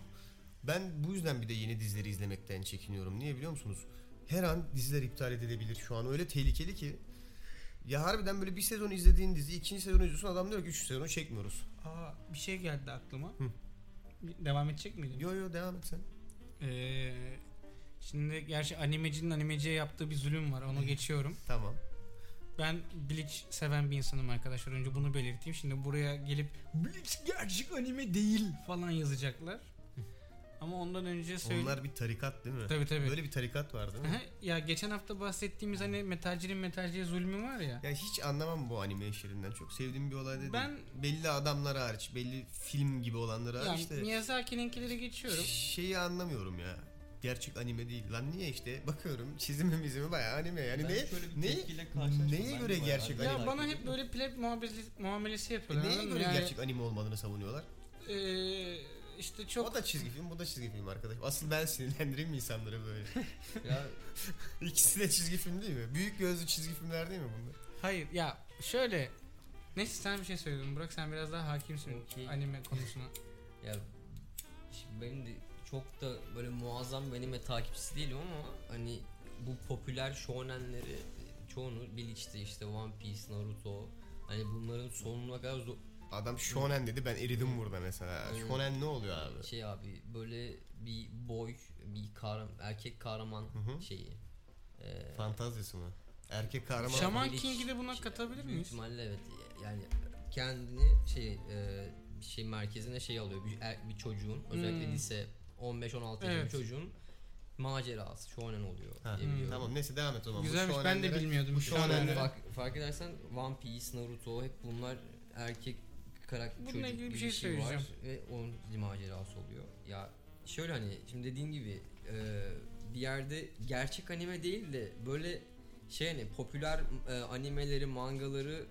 Speaker 4: ben bu yüzden bir de yeni dizileri izlemekten çekiniyorum. Niye biliyor musunuz? Her an diziler iptal edilebilir şu an. Öyle tehlikeli ki. Ya harbiden böyle bir sezon izlediğin dizi, ikinci sezonu izliyorsun adam diyor ki 3 sezonu çekmiyoruz.
Speaker 6: Aa bir şey geldi aklıma.
Speaker 4: Hı.
Speaker 6: Devam edecek miydin?
Speaker 4: Yo yo devam et sen.
Speaker 6: Ee, şimdi gerçi animecinin animeciye yaptığı bir zulüm var. Onu geçiyorum.
Speaker 4: Tamam.
Speaker 6: Ben Bleach seven bir insanım arkadaşlar. Önce bunu belirteyim. Şimdi buraya gelip Bleach gerçek anime değil falan yazacaklar. Ama ondan önce söyle.
Speaker 4: Onlar bir tarikat değil mi?
Speaker 6: Tabii tabii.
Speaker 4: Böyle bir tarikat var değil mi?
Speaker 6: Aha, ya geçen hafta bahsettiğimiz hani metalcinin metalciye zulmü var ya.
Speaker 4: Ya hiç anlamam bu anime işlerinden. Çok sevdiğim bir olay da değil.
Speaker 6: Ben-
Speaker 4: Belli adamlar hariç, belli film gibi olanları
Speaker 6: Ya
Speaker 4: hariç işte
Speaker 6: Miyazaki'ninkileri geçiyorum.
Speaker 4: şeyi anlamıyorum ya. Gerçek anime değil. Lan niye işte bakıyorum çizimi mizimi bayağı anime. Yani
Speaker 5: Ben
Speaker 4: ne,
Speaker 5: şöyle bir
Speaker 4: ne,
Speaker 5: tepkiyle karşılaştım.
Speaker 4: neye
Speaker 5: Ben de
Speaker 4: göre
Speaker 5: bayağı
Speaker 4: gerçek
Speaker 5: merak
Speaker 6: Ya
Speaker 4: anime?
Speaker 6: bana
Speaker 5: ediyorum.
Speaker 6: hep böyle pleb muhabbesi- muamelesi
Speaker 4: E
Speaker 6: yapıyorlar.
Speaker 4: neye
Speaker 6: anladın mı?
Speaker 4: göre
Speaker 6: Yani,
Speaker 4: gerçek anime olmadığını savunuyorlar?
Speaker 6: eee, işte çok
Speaker 4: O da çizgi film, bu da çizgi film arkadaş. Asıl ben sinirlendireyim mi insanları böyle? [laughs]
Speaker 5: Ya
Speaker 4: İkisi de çizgi film değil mi? Büyük gözlü çizgi filmler değil mi bunlar?
Speaker 6: Hayır ya şöyle Neyse sen bir şey söyledin Burak sen biraz daha hakimsin
Speaker 5: Okey.
Speaker 6: anime konusuna.
Speaker 5: ya şimdi benim de çok da böyle muazzam benim takipçisi değilim ama hani bu popüler shonenleri çoğunu Bleach'ti işte One Piece, Naruto hani bunların sonuna kadar zo-
Speaker 4: Adam shonen dedi ben eridim burada mesela.
Speaker 5: Evet.
Speaker 4: Shonen ne oluyor abi?
Speaker 5: şey abi böyle bir boy, bir kahraman, erkek kahraman
Speaker 4: Hı hı.
Speaker 5: şeyi. Ee,
Speaker 4: Fantazisi mi? Erkek kahraman.
Speaker 6: Şam- Shaman
Speaker 5: Bleach-
Speaker 6: King'i de buna katabilir
Speaker 5: Büyük
Speaker 6: miyiz?
Speaker 5: ihtimalle evet. Yani kendini şey e, bir şey merkezine şey alıyor. Bir, er- bir çocuğun özellikle
Speaker 6: Hmm.
Speaker 5: lise 15-16 yaşında
Speaker 6: Evet.
Speaker 5: bir çocuğun macerası shonen oluyor
Speaker 4: Ha, hmm,
Speaker 5: diye biliyorum.
Speaker 4: tamam neyse devam et o zaman. Bu
Speaker 6: Güzelmiş ben de
Speaker 4: shonenlere-
Speaker 6: bilmiyordum.
Speaker 4: bu
Speaker 6: şu an
Speaker 4: shonenlere-
Speaker 5: Fark, fark edersen One Piece, Naruto hep bunlar erkek karakter
Speaker 6: Bununla
Speaker 5: çocuk
Speaker 6: ilgili bir
Speaker 5: gibi
Speaker 6: şey
Speaker 5: var
Speaker 6: söyleyeceğim.
Speaker 5: ve onun bir macerası oluyor. Ya şöyle hani şimdi dediğim gibi e, bir yerde gerçek anime değil de böyle şey hani popüler e, animeleri, mangaları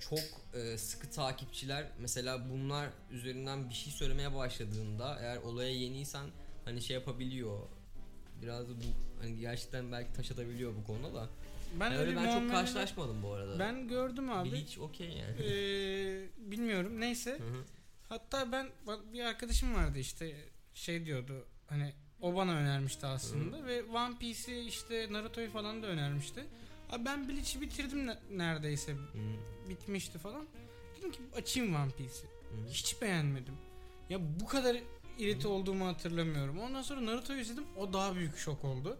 Speaker 5: çok e, sıkı takipçiler mesela bunlar üzerinden bir şey söylemeye başladığında eğer olaya yeniysen hani şey yapabiliyor. Biraz da bu hani gerçekten belki taş atabiliyor bu konuda da.
Speaker 6: Ben
Speaker 5: Yani
Speaker 6: öyle
Speaker 5: öyle ben çok
Speaker 6: muameleler-
Speaker 5: karşılaşmadım bu arada.
Speaker 6: Ben gördüm abi.
Speaker 5: Bleach okey yani.
Speaker 6: Ee, bilmiyorum neyse.
Speaker 5: Hı hı.
Speaker 6: Hatta ben bak bir arkadaşım vardı işte şey diyordu hani o bana önermişti aslında ve One Piece'i işte Naruto'yu falan da önermişti. Abi ben Bleach'i bitirdim ne- neredeyse
Speaker 5: Hı.
Speaker 6: bitmişti falan. Dedim ki açayım One Piece'i.
Speaker 5: Hı.
Speaker 6: Hiç beğenmedim. Ya bu kadar irite olduğumu hatırlamıyorum. Ondan sonra Naruto'yu izledim. O daha büyük şok oldu.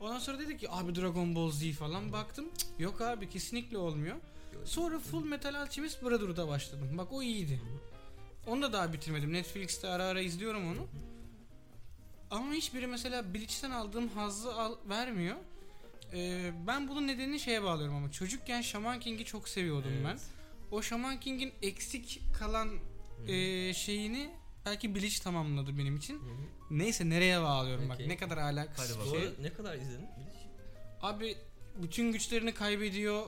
Speaker 6: Ondan sonra dedi ki abi Dragon Ball Z falan baktım. Cık, Yok abi kesinlikle olmuyor. Sonra Full Metal Alchemist Brotherhood'a başladım. Bak o iyiydi. Onu da daha bitirmedim. Netflix'te ara ara izliyorum onu. Ama hiçbiri mesela Bleach'ten aldığım hazzı al, vermiyor. Ee, ben bunun nedenini şeye bağlıyorum ama çocukken Shaman King'i çok seviyordum ben.
Speaker 5: Evet.
Speaker 6: O Shaman King'in eksik kalan
Speaker 5: Hı.
Speaker 6: ee, şeyini belki Bleach tamamladı benim için.
Speaker 5: Hı hı.
Speaker 6: Neyse nereye bağlıyorum bak
Speaker 5: Peki.
Speaker 6: ne kadar alakasız
Speaker 4: Hadi
Speaker 6: bir
Speaker 5: Bu
Speaker 6: şey.
Speaker 5: arada ne kadar izledin Bleach?
Speaker 6: Abi bütün güçlerini kaybediyor.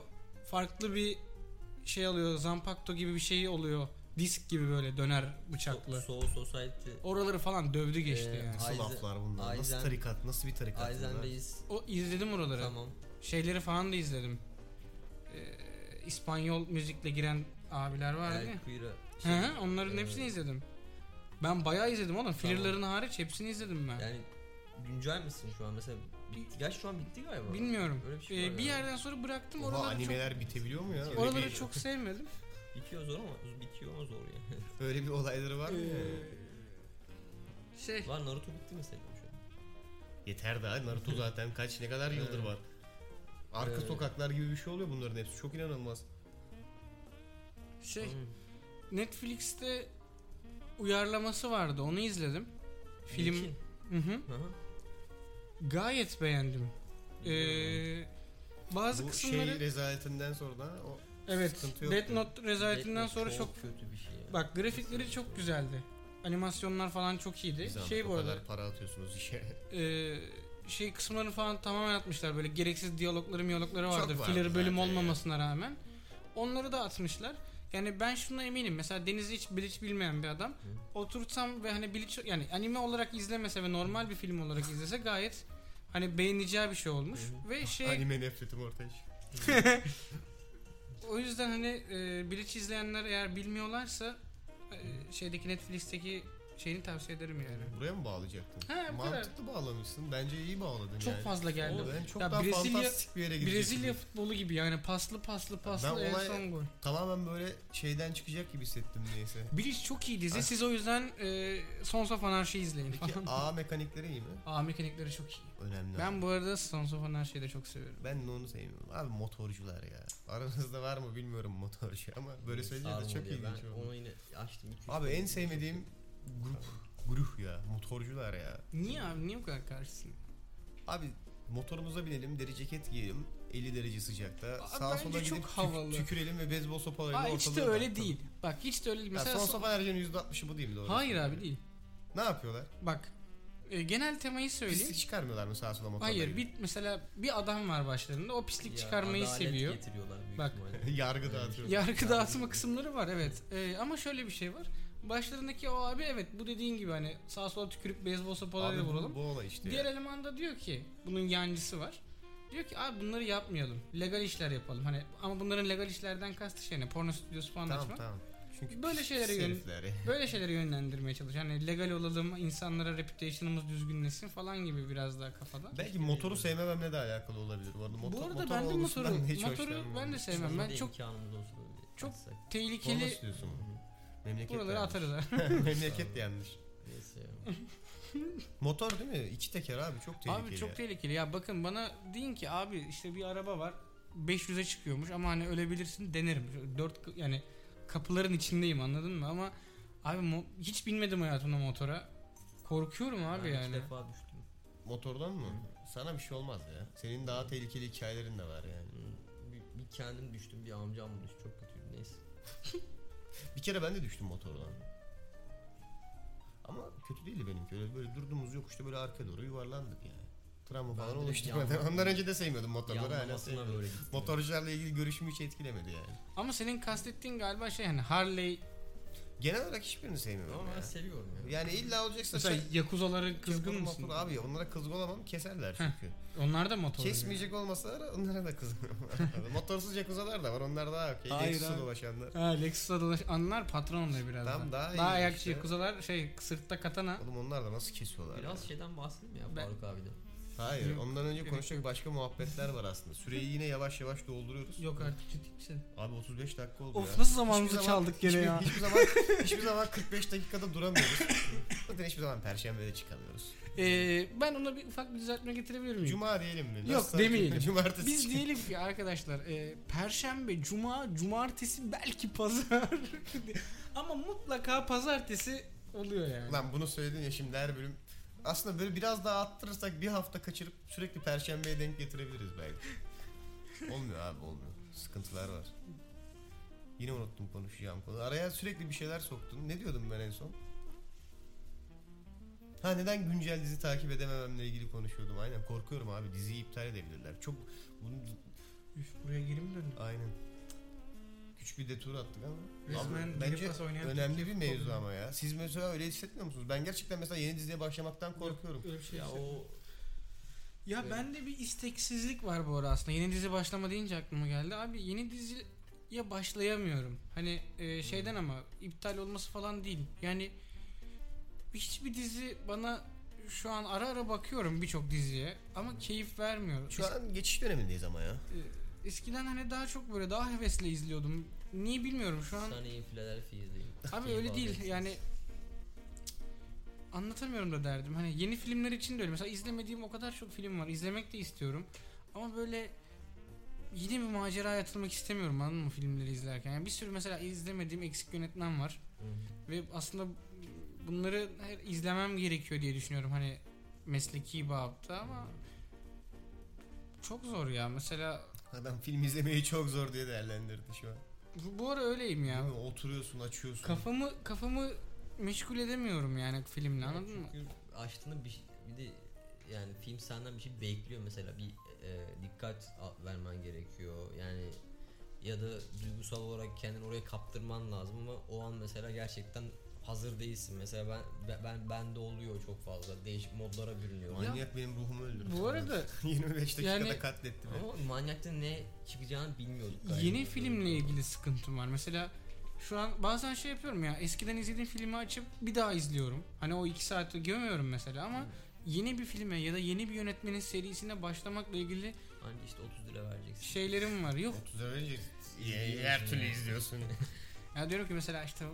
Speaker 6: Farklı bir şey alıyor. Zampakto gibi bir şey oluyor. Disk gibi böyle döner bıçaklı.
Speaker 5: Soul Society.
Speaker 6: Oraları falan dövdü geçti
Speaker 5: Ee,
Speaker 6: yani.
Speaker 5: a-
Speaker 4: Nasıl
Speaker 5: Aizen-
Speaker 4: laflar bunlar?
Speaker 5: Aizen-
Speaker 4: Nasıl tarikat? Nasıl bir tarikat?
Speaker 5: Aizen
Speaker 4: bunlar?
Speaker 5: Reis.
Speaker 6: O izledim oraları.
Speaker 5: Tamam.
Speaker 6: Şeyleri falan da izledim. Ee, İspanyol müzikle giren abiler vardı ya.
Speaker 5: El Queer'a.
Speaker 6: Hı hı, onların
Speaker 5: e,
Speaker 6: hepsini izledim. Ben bayağı izledim oğlum. Fillerlarını hariç hepsini izledim ben.
Speaker 5: Şey, Yani güncel misin şu an mesela? Bitti. Gerçi şu an bitti galiba.
Speaker 6: Bilmiyorum.
Speaker 5: Öyle bir şey var
Speaker 6: Ee, bir
Speaker 5: galiba.
Speaker 6: yerden sonra bıraktım.
Speaker 4: Oha
Speaker 6: Oraları
Speaker 4: animeler bitebiliyor mu ya?
Speaker 6: çok,
Speaker 4: Öyle
Speaker 6: oraları
Speaker 4: bir,
Speaker 6: çok sevmedim.
Speaker 5: Bitiyor zor ama bitiyor ama zor
Speaker 6: [laughs]
Speaker 5: yani.
Speaker 4: öyle bir olayları var mı? ya?
Speaker 6: Ee, Şey.
Speaker 5: Lan Naruto bitti mesela şu an.
Speaker 4: Yeter daha Naruto zaten kaç ne kadar yıldır
Speaker 6: Ee-
Speaker 4: var. Arka
Speaker 5: Ee.
Speaker 4: sokaklar gibi bir şey oluyor bunların hepsi. Çok inanılmaz.
Speaker 6: Şey.
Speaker 5: Hmm.
Speaker 6: Netflix'te uyarlaması vardı. Onu izledim. Film.
Speaker 5: Bleach'in.
Speaker 6: Hı hı.
Speaker 5: Hı hı.
Speaker 6: Gayet beğendim.
Speaker 5: Biliyorum.
Speaker 6: Ee, bazı
Speaker 4: Bu
Speaker 6: kısımları
Speaker 4: şey rezaletinden sonra da o
Speaker 6: evet.
Speaker 4: sıkıntı yok.
Speaker 6: Death Note rezaletinden
Speaker 5: Death Note
Speaker 6: sonra çok,
Speaker 5: kötü bir şey. ya.
Speaker 6: bak grafikleri çok güzeldi. Animasyonlar falan çok iyiydi.
Speaker 4: Bir zahmet
Speaker 6: şey
Speaker 4: o
Speaker 6: bu arada
Speaker 4: kadar para atıyorsunuz işe.
Speaker 6: ee, şey kısımlarını falan tamamen atmışlar. Böyle gereksiz diyalogları miyalogları
Speaker 4: Çok
Speaker 6: vardı.
Speaker 4: vardı
Speaker 6: Filler bölüm
Speaker 4: zaten ya.
Speaker 6: olmamasına rağmen. Onları da atmışlar. Yani ben şuna eminim. Mesela Deniz'i hiç Bleach bilmeyen bir adam. Otursam ve hani Bleach yani anime olarak izlemese ve normal bir film olarak izlese gayet hani beğeneceği bir şey olmuş. Ve şey
Speaker 4: [laughs] Anime nefretim ortaya çıktı.
Speaker 6: o yüzden hani e, Bleach izleyenler eğer bilmiyorlarsa e, şeydeki Netflix'teki şeyini tavsiye ederim yani.
Speaker 4: Buraya mı bağlayacaktın?
Speaker 6: Ha, bu kadar.
Speaker 4: Mantıklı bağlamışsın. Bence iyi bağladın
Speaker 6: Çok
Speaker 4: yani.
Speaker 6: fazla geldi.
Speaker 4: Ben çok
Speaker 6: Ya
Speaker 4: daha
Speaker 6: Brezilya-
Speaker 4: fantastik bir yere gidecektim.
Speaker 6: Brezilya futbolu gibi yani paslı paslı paslı
Speaker 4: Ben
Speaker 6: en
Speaker 4: olay-
Speaker 6: son gol.
Speaker 4: Tamamen böyle şeyden çıkacak gibi hissettim neyse.
Speaker 6: Bleach çok iyi dizi.
Speaker 4: Ah.
Speaker 6: Siz o yüzden e, Sons of Anarchy izleyin
Speaker 4: Peki
Speaker 6: [laughs] falan.
Speaker 4: A mekanikleri iyi mi?
Speaker 6: Aa mekanikleri çok iyi.
Speaker 4: Önemli.
Speaker 6: Ben bu arada Sons of Anarchy'yi de çok seviyorum.
Speaker 4: Ben de onu sevmiyorum. Abi motorcular ya. Aranızda var mı bilmiyorum motorcu ama böyle söyleyince de
Speaker 5: Sarmadı
Speaker 4: çok
Speaker 5: ya.
Speaker 4: ilginç
Speaker 5: Ben
Speaker 4: oldu.
Speaker 5: onu yine açtım. iki üç
Speaker 4: Abi
Speaker 5: bölüm.
Speaker 4: en sevmediğim grup grup ya. Motorcular ya.
Speaker 6: Niye abi? Niye bu kadar karşısın?
Speaker 4: Abi motorumuza binelim, deri ceket giyelim. 50 derece sıcakta.
Speaker 6: Abi
Speaker 4: Sağa sola
Speaker 6: bence
Speaker 4: gidip
Speaker 6: çok
Speaker 4: tük-
Speaker 6: havalı.
Speaker 4: tükürelim ve beyzbol sopalarıyla
Speaker 6: Aa
Speaker 4: ortalığı
Speaker 6: hiç de öyle
Speaker 4: dağıtalım.
Speaker 6: değil. Bak hiç de öyle değil.
Speaker 4: Ya
Speaker 6: Mesela
Speaker 4: son sopa enerjinin %60'ı bu değil mi doğru?
Speaker 6: Hayır abi değil.
Speaker 4: Ne yapıyorlar?
Speaker 6: Bak e, genel temayı söyleyeyim.
Speaker 4: Pislik çıkarmıyorlar mı sağa sola motorla?
Speaker 6: Hayır
Speaker 4: gidip?
Speaker 6: bir, mesela bir adam var başlarında o pislik
Speaker 5: Ya,
Speaker 6: çıkarmayı
Speaker 5: adalet
Speaker 6: seviyor.
Speaker 5: getiriyorlar büyük
Speaker 6: Bak.
Speaker 4: [laughs]
Speaker 5: ihtimalle.
Speaker 4: Yargı dağıtıyorlar.
Speaker 6: Yargı dağıtma kısımları var evet. Ee, ama şöyle bir şey var. Başlarındaki o abi evet bu dediğin gibi hani sağa sola tükürüp beyzbol
Speaker 4: Abi
Speaker 6: sopalarıyla
Speaker 4: bu-
Speaker 6: vuralım.
Speaker 4: Bu olay işte.
Speaker 6: Diğer
Speaker 4: ya.
Speaker 6: eleman da diyor ki bunun yancısı var. Diyor ki abi bunları yapmayalım. Legal işler yapalım. Hani ama bunların legal işlerden kastı şey ne? Porno stüdyosu falan
Speaker 4: Tamam
Speaker 6: açmak.
Speaker 4: tamam. Çünkü
Speaker 6: Böyle
Speaker 4: pis
Speaker 6: şeylere yön- [laughs]
Speaker 4: herifler ya.
Speaker 6: Böyle şeyleri yönlendirmeye çalışıyor. Hani legal olalım, insanlara reputation'ımız düzgünleşsin falan gibi biraz daha kafada.
Speaker 4: Belki motoru sevmememle de alakalı olabilir. Bu arada, motor,
Speaker 6: Bu arada
Speaker 4: motor
Speaker 6: ben de
Speaker 4: olgusundan
Speaker 6: motoru,
Speaker 4: da hiç
Speaker 6: motoru
Speaker 4: hoşlanmıyorum.
Speaker 6: ben de sevmem. Ben
Speaker 5: Bizim de
Speaker 6: çok
Speaker 5: imkanımız olsa da
Speaker 6: çok
Speaker 5: yapsak.
Speaker 4: Porno
Speaker 6: tehlikeli
Speaker 4: stüdyosu mu? Memleket
Speaker 6: buraları
Speaker 4: yanlış.
Speaker 6: atarız. ha.
Speaker 4: [laughs] Memleket de yanlış.
Speaker 5: Neyse ya.
Speaker 4: Motor değil mi? İki teker abi çok tehlikeli.
Speaker 6: Abi çok tehlikeli ya bakın bana deyin ki abi işte bir araba var 500'e çıkıyormuş ama hani ölebilirsin denerim. Şöyle Dört kı- yani kapıların içindeyim anladın mı ama abi mo- hiç binmedim hayatımda motora. Korkuyorum abi
Speaker 5: Ben iki
Speaker 6: yani.
Speaker 5: defa düştüm.
Speaker 4: Motordan mı? Sana bir şey olmaz ya. Senin daha tehlikeli hikayelerin de var yani.
Speaker 5: Hmm, Bir, bir kendim düştüm bir amcam düştü çok kötüydü neyse.
Speaker 4: Bir kere ben de düştüm motordan. Ama kötü değildi benimki. Öyle böyle durduğumuz yokuşta böyle arkaya doğru yuvarlandık yani. Travma
Speaker 5: Ben
Speaker 4: falan
Speaker 5: direkt
Speaker 4: oluşturmadı.
Speaker 5: yandım.
Speaker 4: [laughs] Ondan önce de sevmiyordum motorları hala
Speaker 5: Yanlamasına
Speaker 4: sevmiyorum.
Speaker 5: böyle gitti.
Speaker 4: Motorcularla ilgili görüşümü hiç etkilemedi yani.
Speaker 6: Ama senin kastettiğin galiba şey hani Harley
Speaker 4: Genel olarak hiçbirini sevmiyorum
Speaker 5: Ama ben
Speaker 4: ya.
Speaker 5: seviyorum ya.
Speaker 4: Yani illa olacaksa
Speaker 6: mesela
Speaker 4: şey-
Speaker 6: Yakuzalara kızgın
Speaker 4: Yapalım,
Speaker 6: mısın?
Speaker 4: yapalım. Abi ya, onlara kızgın olamam keserler çünkü.
Speaker 6: Onlar da motor.
Speaker 4: Kesmeyecek olmasalar onlara da kızgın [laughs] olamam. Motorsuz yakuzalar da var onlar daha okey.
Speaker 6: Hayır
Speaker 4: Lexus'la
Speaker 6: abi.
Speaker 4: dolaşanlar.
Speaker 6: Ha Lexus'a dolaş anlar patron oluyor biraz.
Speaker 4: Tam
Speaker 6: da.
Speaker 4: daha iyi
Speaker 6: daha ayakçı
Speaker 4: işte.
Speaker 6: Yakuzalar şey sırtta katana.
Speaker 4: Oğlum onlar da nasıl kesiyorlar
Speaker 5: Biraz
Speaker 4: ya?
Speaker 5: şeyden bahsedeyim ya
Speaker 6: Ben-
Speaker 5: Faruk abiden.
Speaker 4: Hayır
Speaker 6: Yok.
Speaker 4: ondan önce konuşacak başka muhabbetler var aslında. Süreyi yine yavaş yavaş dolduruyoruz.
Speaker 6: Yok artık ciddi misin?
Speaker 4: Abi 35 dakika oldu ya.
Speaker 6: Of nasıl zamanımızı
Speaker 4: Hiçbir zaman-
Speaker 6: çaldık gene
Speaker 4: hiçbir-
Speaker 6: ya.
Speaker 4: Hiçbir zaman, hiçbir zaman 45 dakikada duramıyoruz. Zaten hiçbir zaman perşembede çıkamıyoruz.
Speaker 6: Ee, ben ona bir ufak bir düzeltme getirebilir miyim?
Speaker 4: Cuma diyelim mi?
Speaker 6: Yok,
Speaker 4: Nasıl-
Speaker 6: demeyelim.
Speaker 4: Cumartesi.
Speaker 6: Biz diyelim ki arkadaşlar e, perşembe, cuma, cumartesi belki pazar [laughs] ama mutlaka pazartesi oluyor yani.
Speaker 4: Lan bunu söyledin ya şimdi her bölüm. Aslında böyle biraz daha attırırsak bir hafta kaçırıp sürekli perşembeye denk getirebiliriz belki. olmuyor abi olmuyor. Sıkıntılar var. Yine unuttum konuşacağım konu. Araya sürekli bir şeyler soktun. Ne diyordum ben en son? Ha neden güncel dizi takip edemememle ilgili konuşuyordum. Aynen korkuyorum abi diziyi iptal edebilirler. Çok bunu
Speaker 6: Üf buraya geri mi döndük?
Speaker 4: aynen. Küçük bir detour attık ama.
Speaker 6: Resmen
Speaker 4: Abi,
Speaker 6: deli
Speaker 4: bence
Speaker 6: pas oynayan
Speaker 4: önemli bir mevzu
Speaker 6: oluyor.
Speaker 4: ama ya. Siz mesela öyle hissetmiyor musunuz? Ben gerçekten mesela yeni diziye başlamaktan korkuyorum.
Speaker 6: Öyle bir şey
Speaker 5: Ya
Speaker 6: ya,
Speaker 5: o
Speaker 6: ya bende bir isteksizlik var bu ara aslında. Yeni dizi başlama deyince aklıma geldi. Abi yeni diziye başlayamıyorum. Hani e, şeyden
Speaker 4: Hmm.
Speaker 6: ama iptal olması falan değil. Yani hiçbir dizi bana şu an ara ara bakıyorum birçok diziye ama keyif vermiyor.
Speaker 4: Şu an geçiş dönemindeyiz ama ya.
Speaker 6: Ee, Eskiden hani daha çok böyle daha hevesle izliyordum. Niye bilmiyorum şu an.
Speaker 5: Sunny in Philadelphia izleyin.
Speaker 6: Abi
Speaker 5: Keyif
Speaker 6: öyle değil
Speaker 5: alacaksınız.
Speaker 6: yani Cık, anlatamıyorum da derdim. Hani yeni filmler için de öyle. Mesela izlemediğim o kadar çok film var. İzlemek de istiyorum. Ama böyle yine bir maceraya atılmak istemiyorum anladın mı filmleri izlerken. Yani bir sürü mesela izlemediğim eksik yönetmen var.
Speaker 5: Hı.
Speaker 6: Ve aslında bunları her- izlemem gerekiyor diye düşünüyorum hani mesleki babda ama çok zor ya. Mesela
Speaker 4: Adam film izlemeyi çok zor diye değerlendirdi şu an.
Speaker 6: bu, bu ara öyleyim ya.
Speaker 4: Değil mi? Oturuyorsun, açıyorsun.
Speaker 6: Kafamı kafamı meşgul edemiyorum yani filmle anladın mı?
Speaker 5: Çünkü açtığında bir, şey- bir de yani film senden bir şey bekliyor mesela bir e, dikkat a- vermen gerekiyor yani ya da duygusal olarak kendini oraya kaptırman lazım ama o an mesela gerçekten hazır değilsin mesela ben ben- ben bende oluyor çok fazla değişik modlara bürünüyor.
Speaker 4: Manyak benim ruhumu öldürdü.
Speaker 6: Bu
Speaker 4: [laughs]
Speaker 6: arada
Speaker 4: 25 dakikada
Speaker 6: Yani-
Speaker 4: katletti beni.
Speaker 5: Ama manyakta ne çıkacağını bilmiyorduk.
Speaker 6: yeni filmle ilgili sıkıntım var. Mesela şu an bazen şey yapıyorum ya eskiden izlediğim filmi açıp bir daha izliyorum. Hani o iki saati gömüyorum mesela ama yeni bir filme ya da yeni bir yönetmenin serisine başlamakla ilgili
Speaker 5: Hani işte 30 lira vereceksin.
Speaker 6: şeylerim var. Yok
Speaker 4: 30 lira önce ye- her türlü izliyorsun.
Speaker 6: Ya diyorum ki mesela işte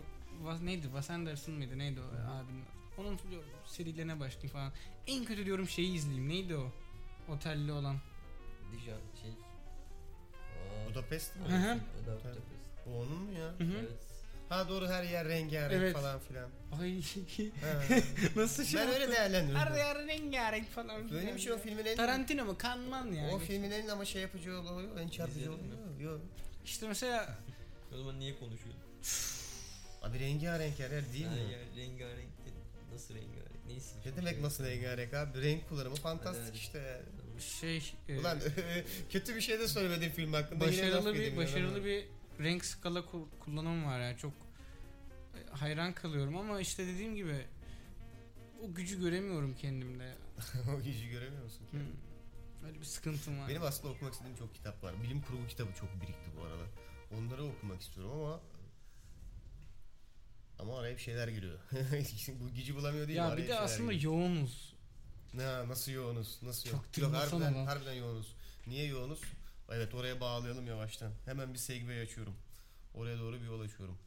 Speaker 6: Wa- neydi Wes Anderson mıydı neydi o abinin onun diyorum serilerine başlayayım falan. En kötü diyorum şeyi izleyeyim neydi o? Otelli olan.
Speaker 5: Dijon şey. Aa,
Speaker 4: Budapest mi?
Speaker 6: Hı hı.
Speaker 5: o da Budapest.
Speaker 4: O onun mu ya?
Speaker 6: Hı hı.
Speaker 5: Evet.
Speaker 4: Ha doğru her yer rengarenk
Speaker 6: Evet.
Speaker 4: falan filan.
Speaker 6: Ay [laughs]
Speaker 4: Ha.
Speaker 6: nasıl şey?
Speaker 4: ben öyle değerlendiriyorum.
Speaker 6: Araya rengarenk falan.
Speaker 4: Benim için o filmin en...
Speaker 6: Tarantino mu? Kanman yani.
Speaker 4: O filmin en ama şey yapıcı oluyor, en çarpıcı
Speaker 5: İzledin mi?
Speaker 4: oluyor. Yok.
Speaker 6: İşte mesela
Speaker 5: O zaman niye konuşuyorsun?
Speaker 4: Abi rengarenk her yer değil
Speaker 5: Ha,
Speaker 4: mi?
Speaker 5: ya rengarenk de nasıl rengarenk? Neyse. şey
Speaker 4: Ne demek nasıl rengarenk abi? Renk kullanımı fantastik
Speaker 5: Hadi, hadi.
Speaker 4: işte. yani.
Speaker 6: şey e,
Speaker 4: Ulan [laughs] kötü bir şey de söylemedin film hakkında. yine
Speaker 6: başarılı
Speaker 4: laf
Speaker 6: bir
Speaker 4: yedim ya.
Speaker 6: başarılı bir renk skala ku- kullanımı var yani çok e, hayran kalıyorum ama işte dediğim gibi o gücü göremiyorum kendimde. ya.
Speaker 4: [laughs] o yüzü göremiyor musun?
Speaker 6: Hı. Öyle bir sıkıntım var.
Speaker 4: Benim aslında okumak istediğim çok kitap var. Bilim kurgu kitabı çok birikti bu arada. Onları okumak istiyorum ama ama araya bir şeyler giriyor. [laughs] bu gücü bulamıyor değil mi?
Speaker 6: ya
Speaker 4: Araya
Speaker 6: bir de
Speaker 4: şeyler
Speaker 6: aslında
Speaker 4: giriyor.
Speaker 6: yoğunuz.
Speaker 4: Ha, nasıl yoğunuz? Nasıl
Speaker 6: Çok
Speaker 4: yoğunuz? Yok,
Speaker 6: duygusal
Speaker 4: harbiden,
Speaker 6: olan.
Speaker 4: harbiden yoğunuz. Niye yoğunuz? Evet oraya bağlayalım yavaştan. Hemen bir segway açıyorum. Oraya doğru bir yol açıyorum.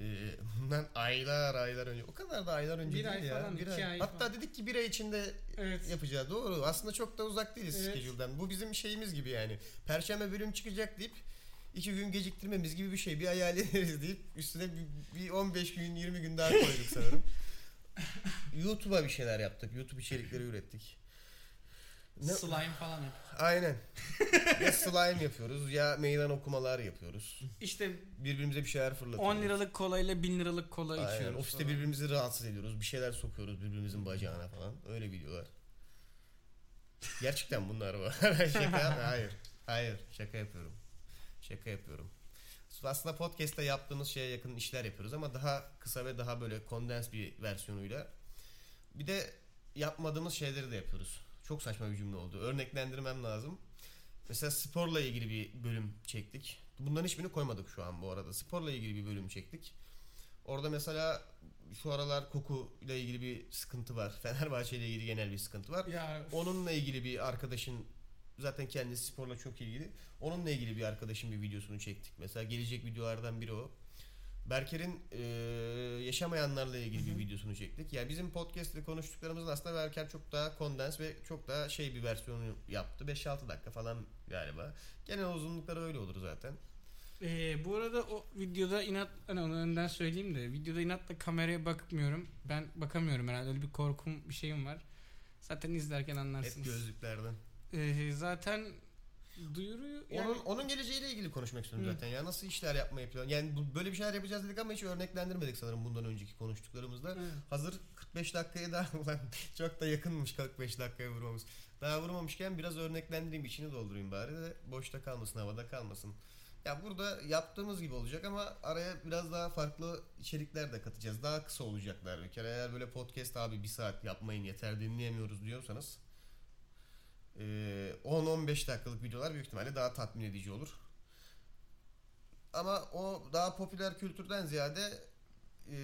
Speaker 4: Ee, [laughs] bundan aylar aylar önce. O kadar da aylar önce
Speaker 6: Bir
Speaker 4: değil
Speaker 6: ay
Speaker 4: ya.
Speaker 6: falan,
Speaker 4: bir
Speaker 6: iki ay
Speaker 4: Hatta
Speaker 6: falan.
Speaker 4: dedik ki bir ay içinde
Speaker 6: Evet.
Speaker 4: yapacağı doğru. Aslında çok da uzak değiliz
Speaker 6: Evet.
Speaker 4: schedule'den. Bu bizim şeyimiz gibi yani. Perşembe bölüm çıkacak deyip iki gün geciktirmemiz gibi bir şey. Bir hayal ederiz [laughs] deyip üstüne bir, bir 15 gün 20 gün daha koyduk sanırım. YouTube'a bir şeyler yaptık. YouTube içerikleri ürettik. Ee, Ne-
Speaker 6: Slime falan yap.
Speaker 4: Aynen. ya slime yapıyoruz ya meydan okumalar yapıyoruz.
Speaker 6: İşte
Speaker 4: Birbirimize bir şeyler fırlatıyoruz.
Speaker 6: 10 liralık kolayla 1000 liralık kola
Speaker 4: Aynen.
Speaker 6: içiyoruz.
Speaker 4: Ofiste
Speaker 6: falan.
Speaker 4: birbirimizi rahatsız ediyoruz. Bir şeyler sokuyoruz birbirimizin bacağına falan. Öyle videolar. Gerçekten bunlar [laughs] var. şaka. Hayır. Hayır. Şaka yapıyorum. Şaka yapıyorum. Aslında podcast'ta yaptığımız şeye yakın işler yapıyoruz ama daha kısa ve daha böyle kondens bir versiyonuyla. Bir de yapmadığımız şeyleri de yapıyoruz. Çok saçma bir cümle oldu. Örneklendirmem lazım. Mesela sporla ilgili bir bölüm çektik. Bunların hiçbirini koymadık şu an bu arada. Sporla ilgili bir bölüm çektik. Orada mesela şu aralar koku ile ilgili bir sıkıntı var. [laughs] Fenerbahçe ile ilgili genel bir sıkıntı var.
Speaker 6: Ya
Speaker 4: Onunla ilgili bir arkadaşın zaten kendisi sporla çok ilgili. Onunla ilgili bir arkadaşın bir videosunu çektik. Mesela gelecek videolardan biri o. Berker'in eee, yaşamayanlarla ilgili bir videosunu çektik. Yani bizim podcast ve konuştuklarımızın aslında Berker çok daha kondens ve çok daha şey bir versiyonu yaptı. 5-6 dakika falan galiba. Genel uzunlukları öyle olur zaten.
Speaker 6: Ee, bu arada o videoda inat hani onu önden söyleyeyim de videoda inatla kameraya bakmıyorum. Ben bakamıyorum herhalde öyle bir korkum bir şeyim var. Zaten izlerken
Speaker 4: Hep
Speaker 6: anlarsınız.
Speaker 4: gözlüklerden.
Speaker 6: Ee, zaten duyuruyor yani
Speaker 4: Onun onun geleceğiyle ilgili konuşmak istiyorum
Speaker 6: Hı.
Speaker 4: zaten. Ya nasıl işler yapmayı plan. Yani bu- böyle bir şeyler yapacağız dedik ama hiç örneklendirmedik sanırım bundan önceki konuştuklarımızda.
Speaker 6: Evet.
Speaker 4: Hazır 45 dakikaya daha [laughs] ulan çok da yakınmış 45 dakikaya vurmamız. Daha vurmamışken biraz örneklendireyim içini doldurayım bari de boşta kalmasın havada kalmasın. Ya burada yaptığımız gibi olacak ama araya biraz daha farklı içerikler de katacağız. Daha kısa olacaklar bir kere. Eğer böyle podcast abi bir saat yapmayın yeter dinleyemiyoruz diyorsanız ee, 10-15 dakikalık videolar büyük ihtimalle daha tatmin edici olur. Ama o daha popüler kültürden ziyade e,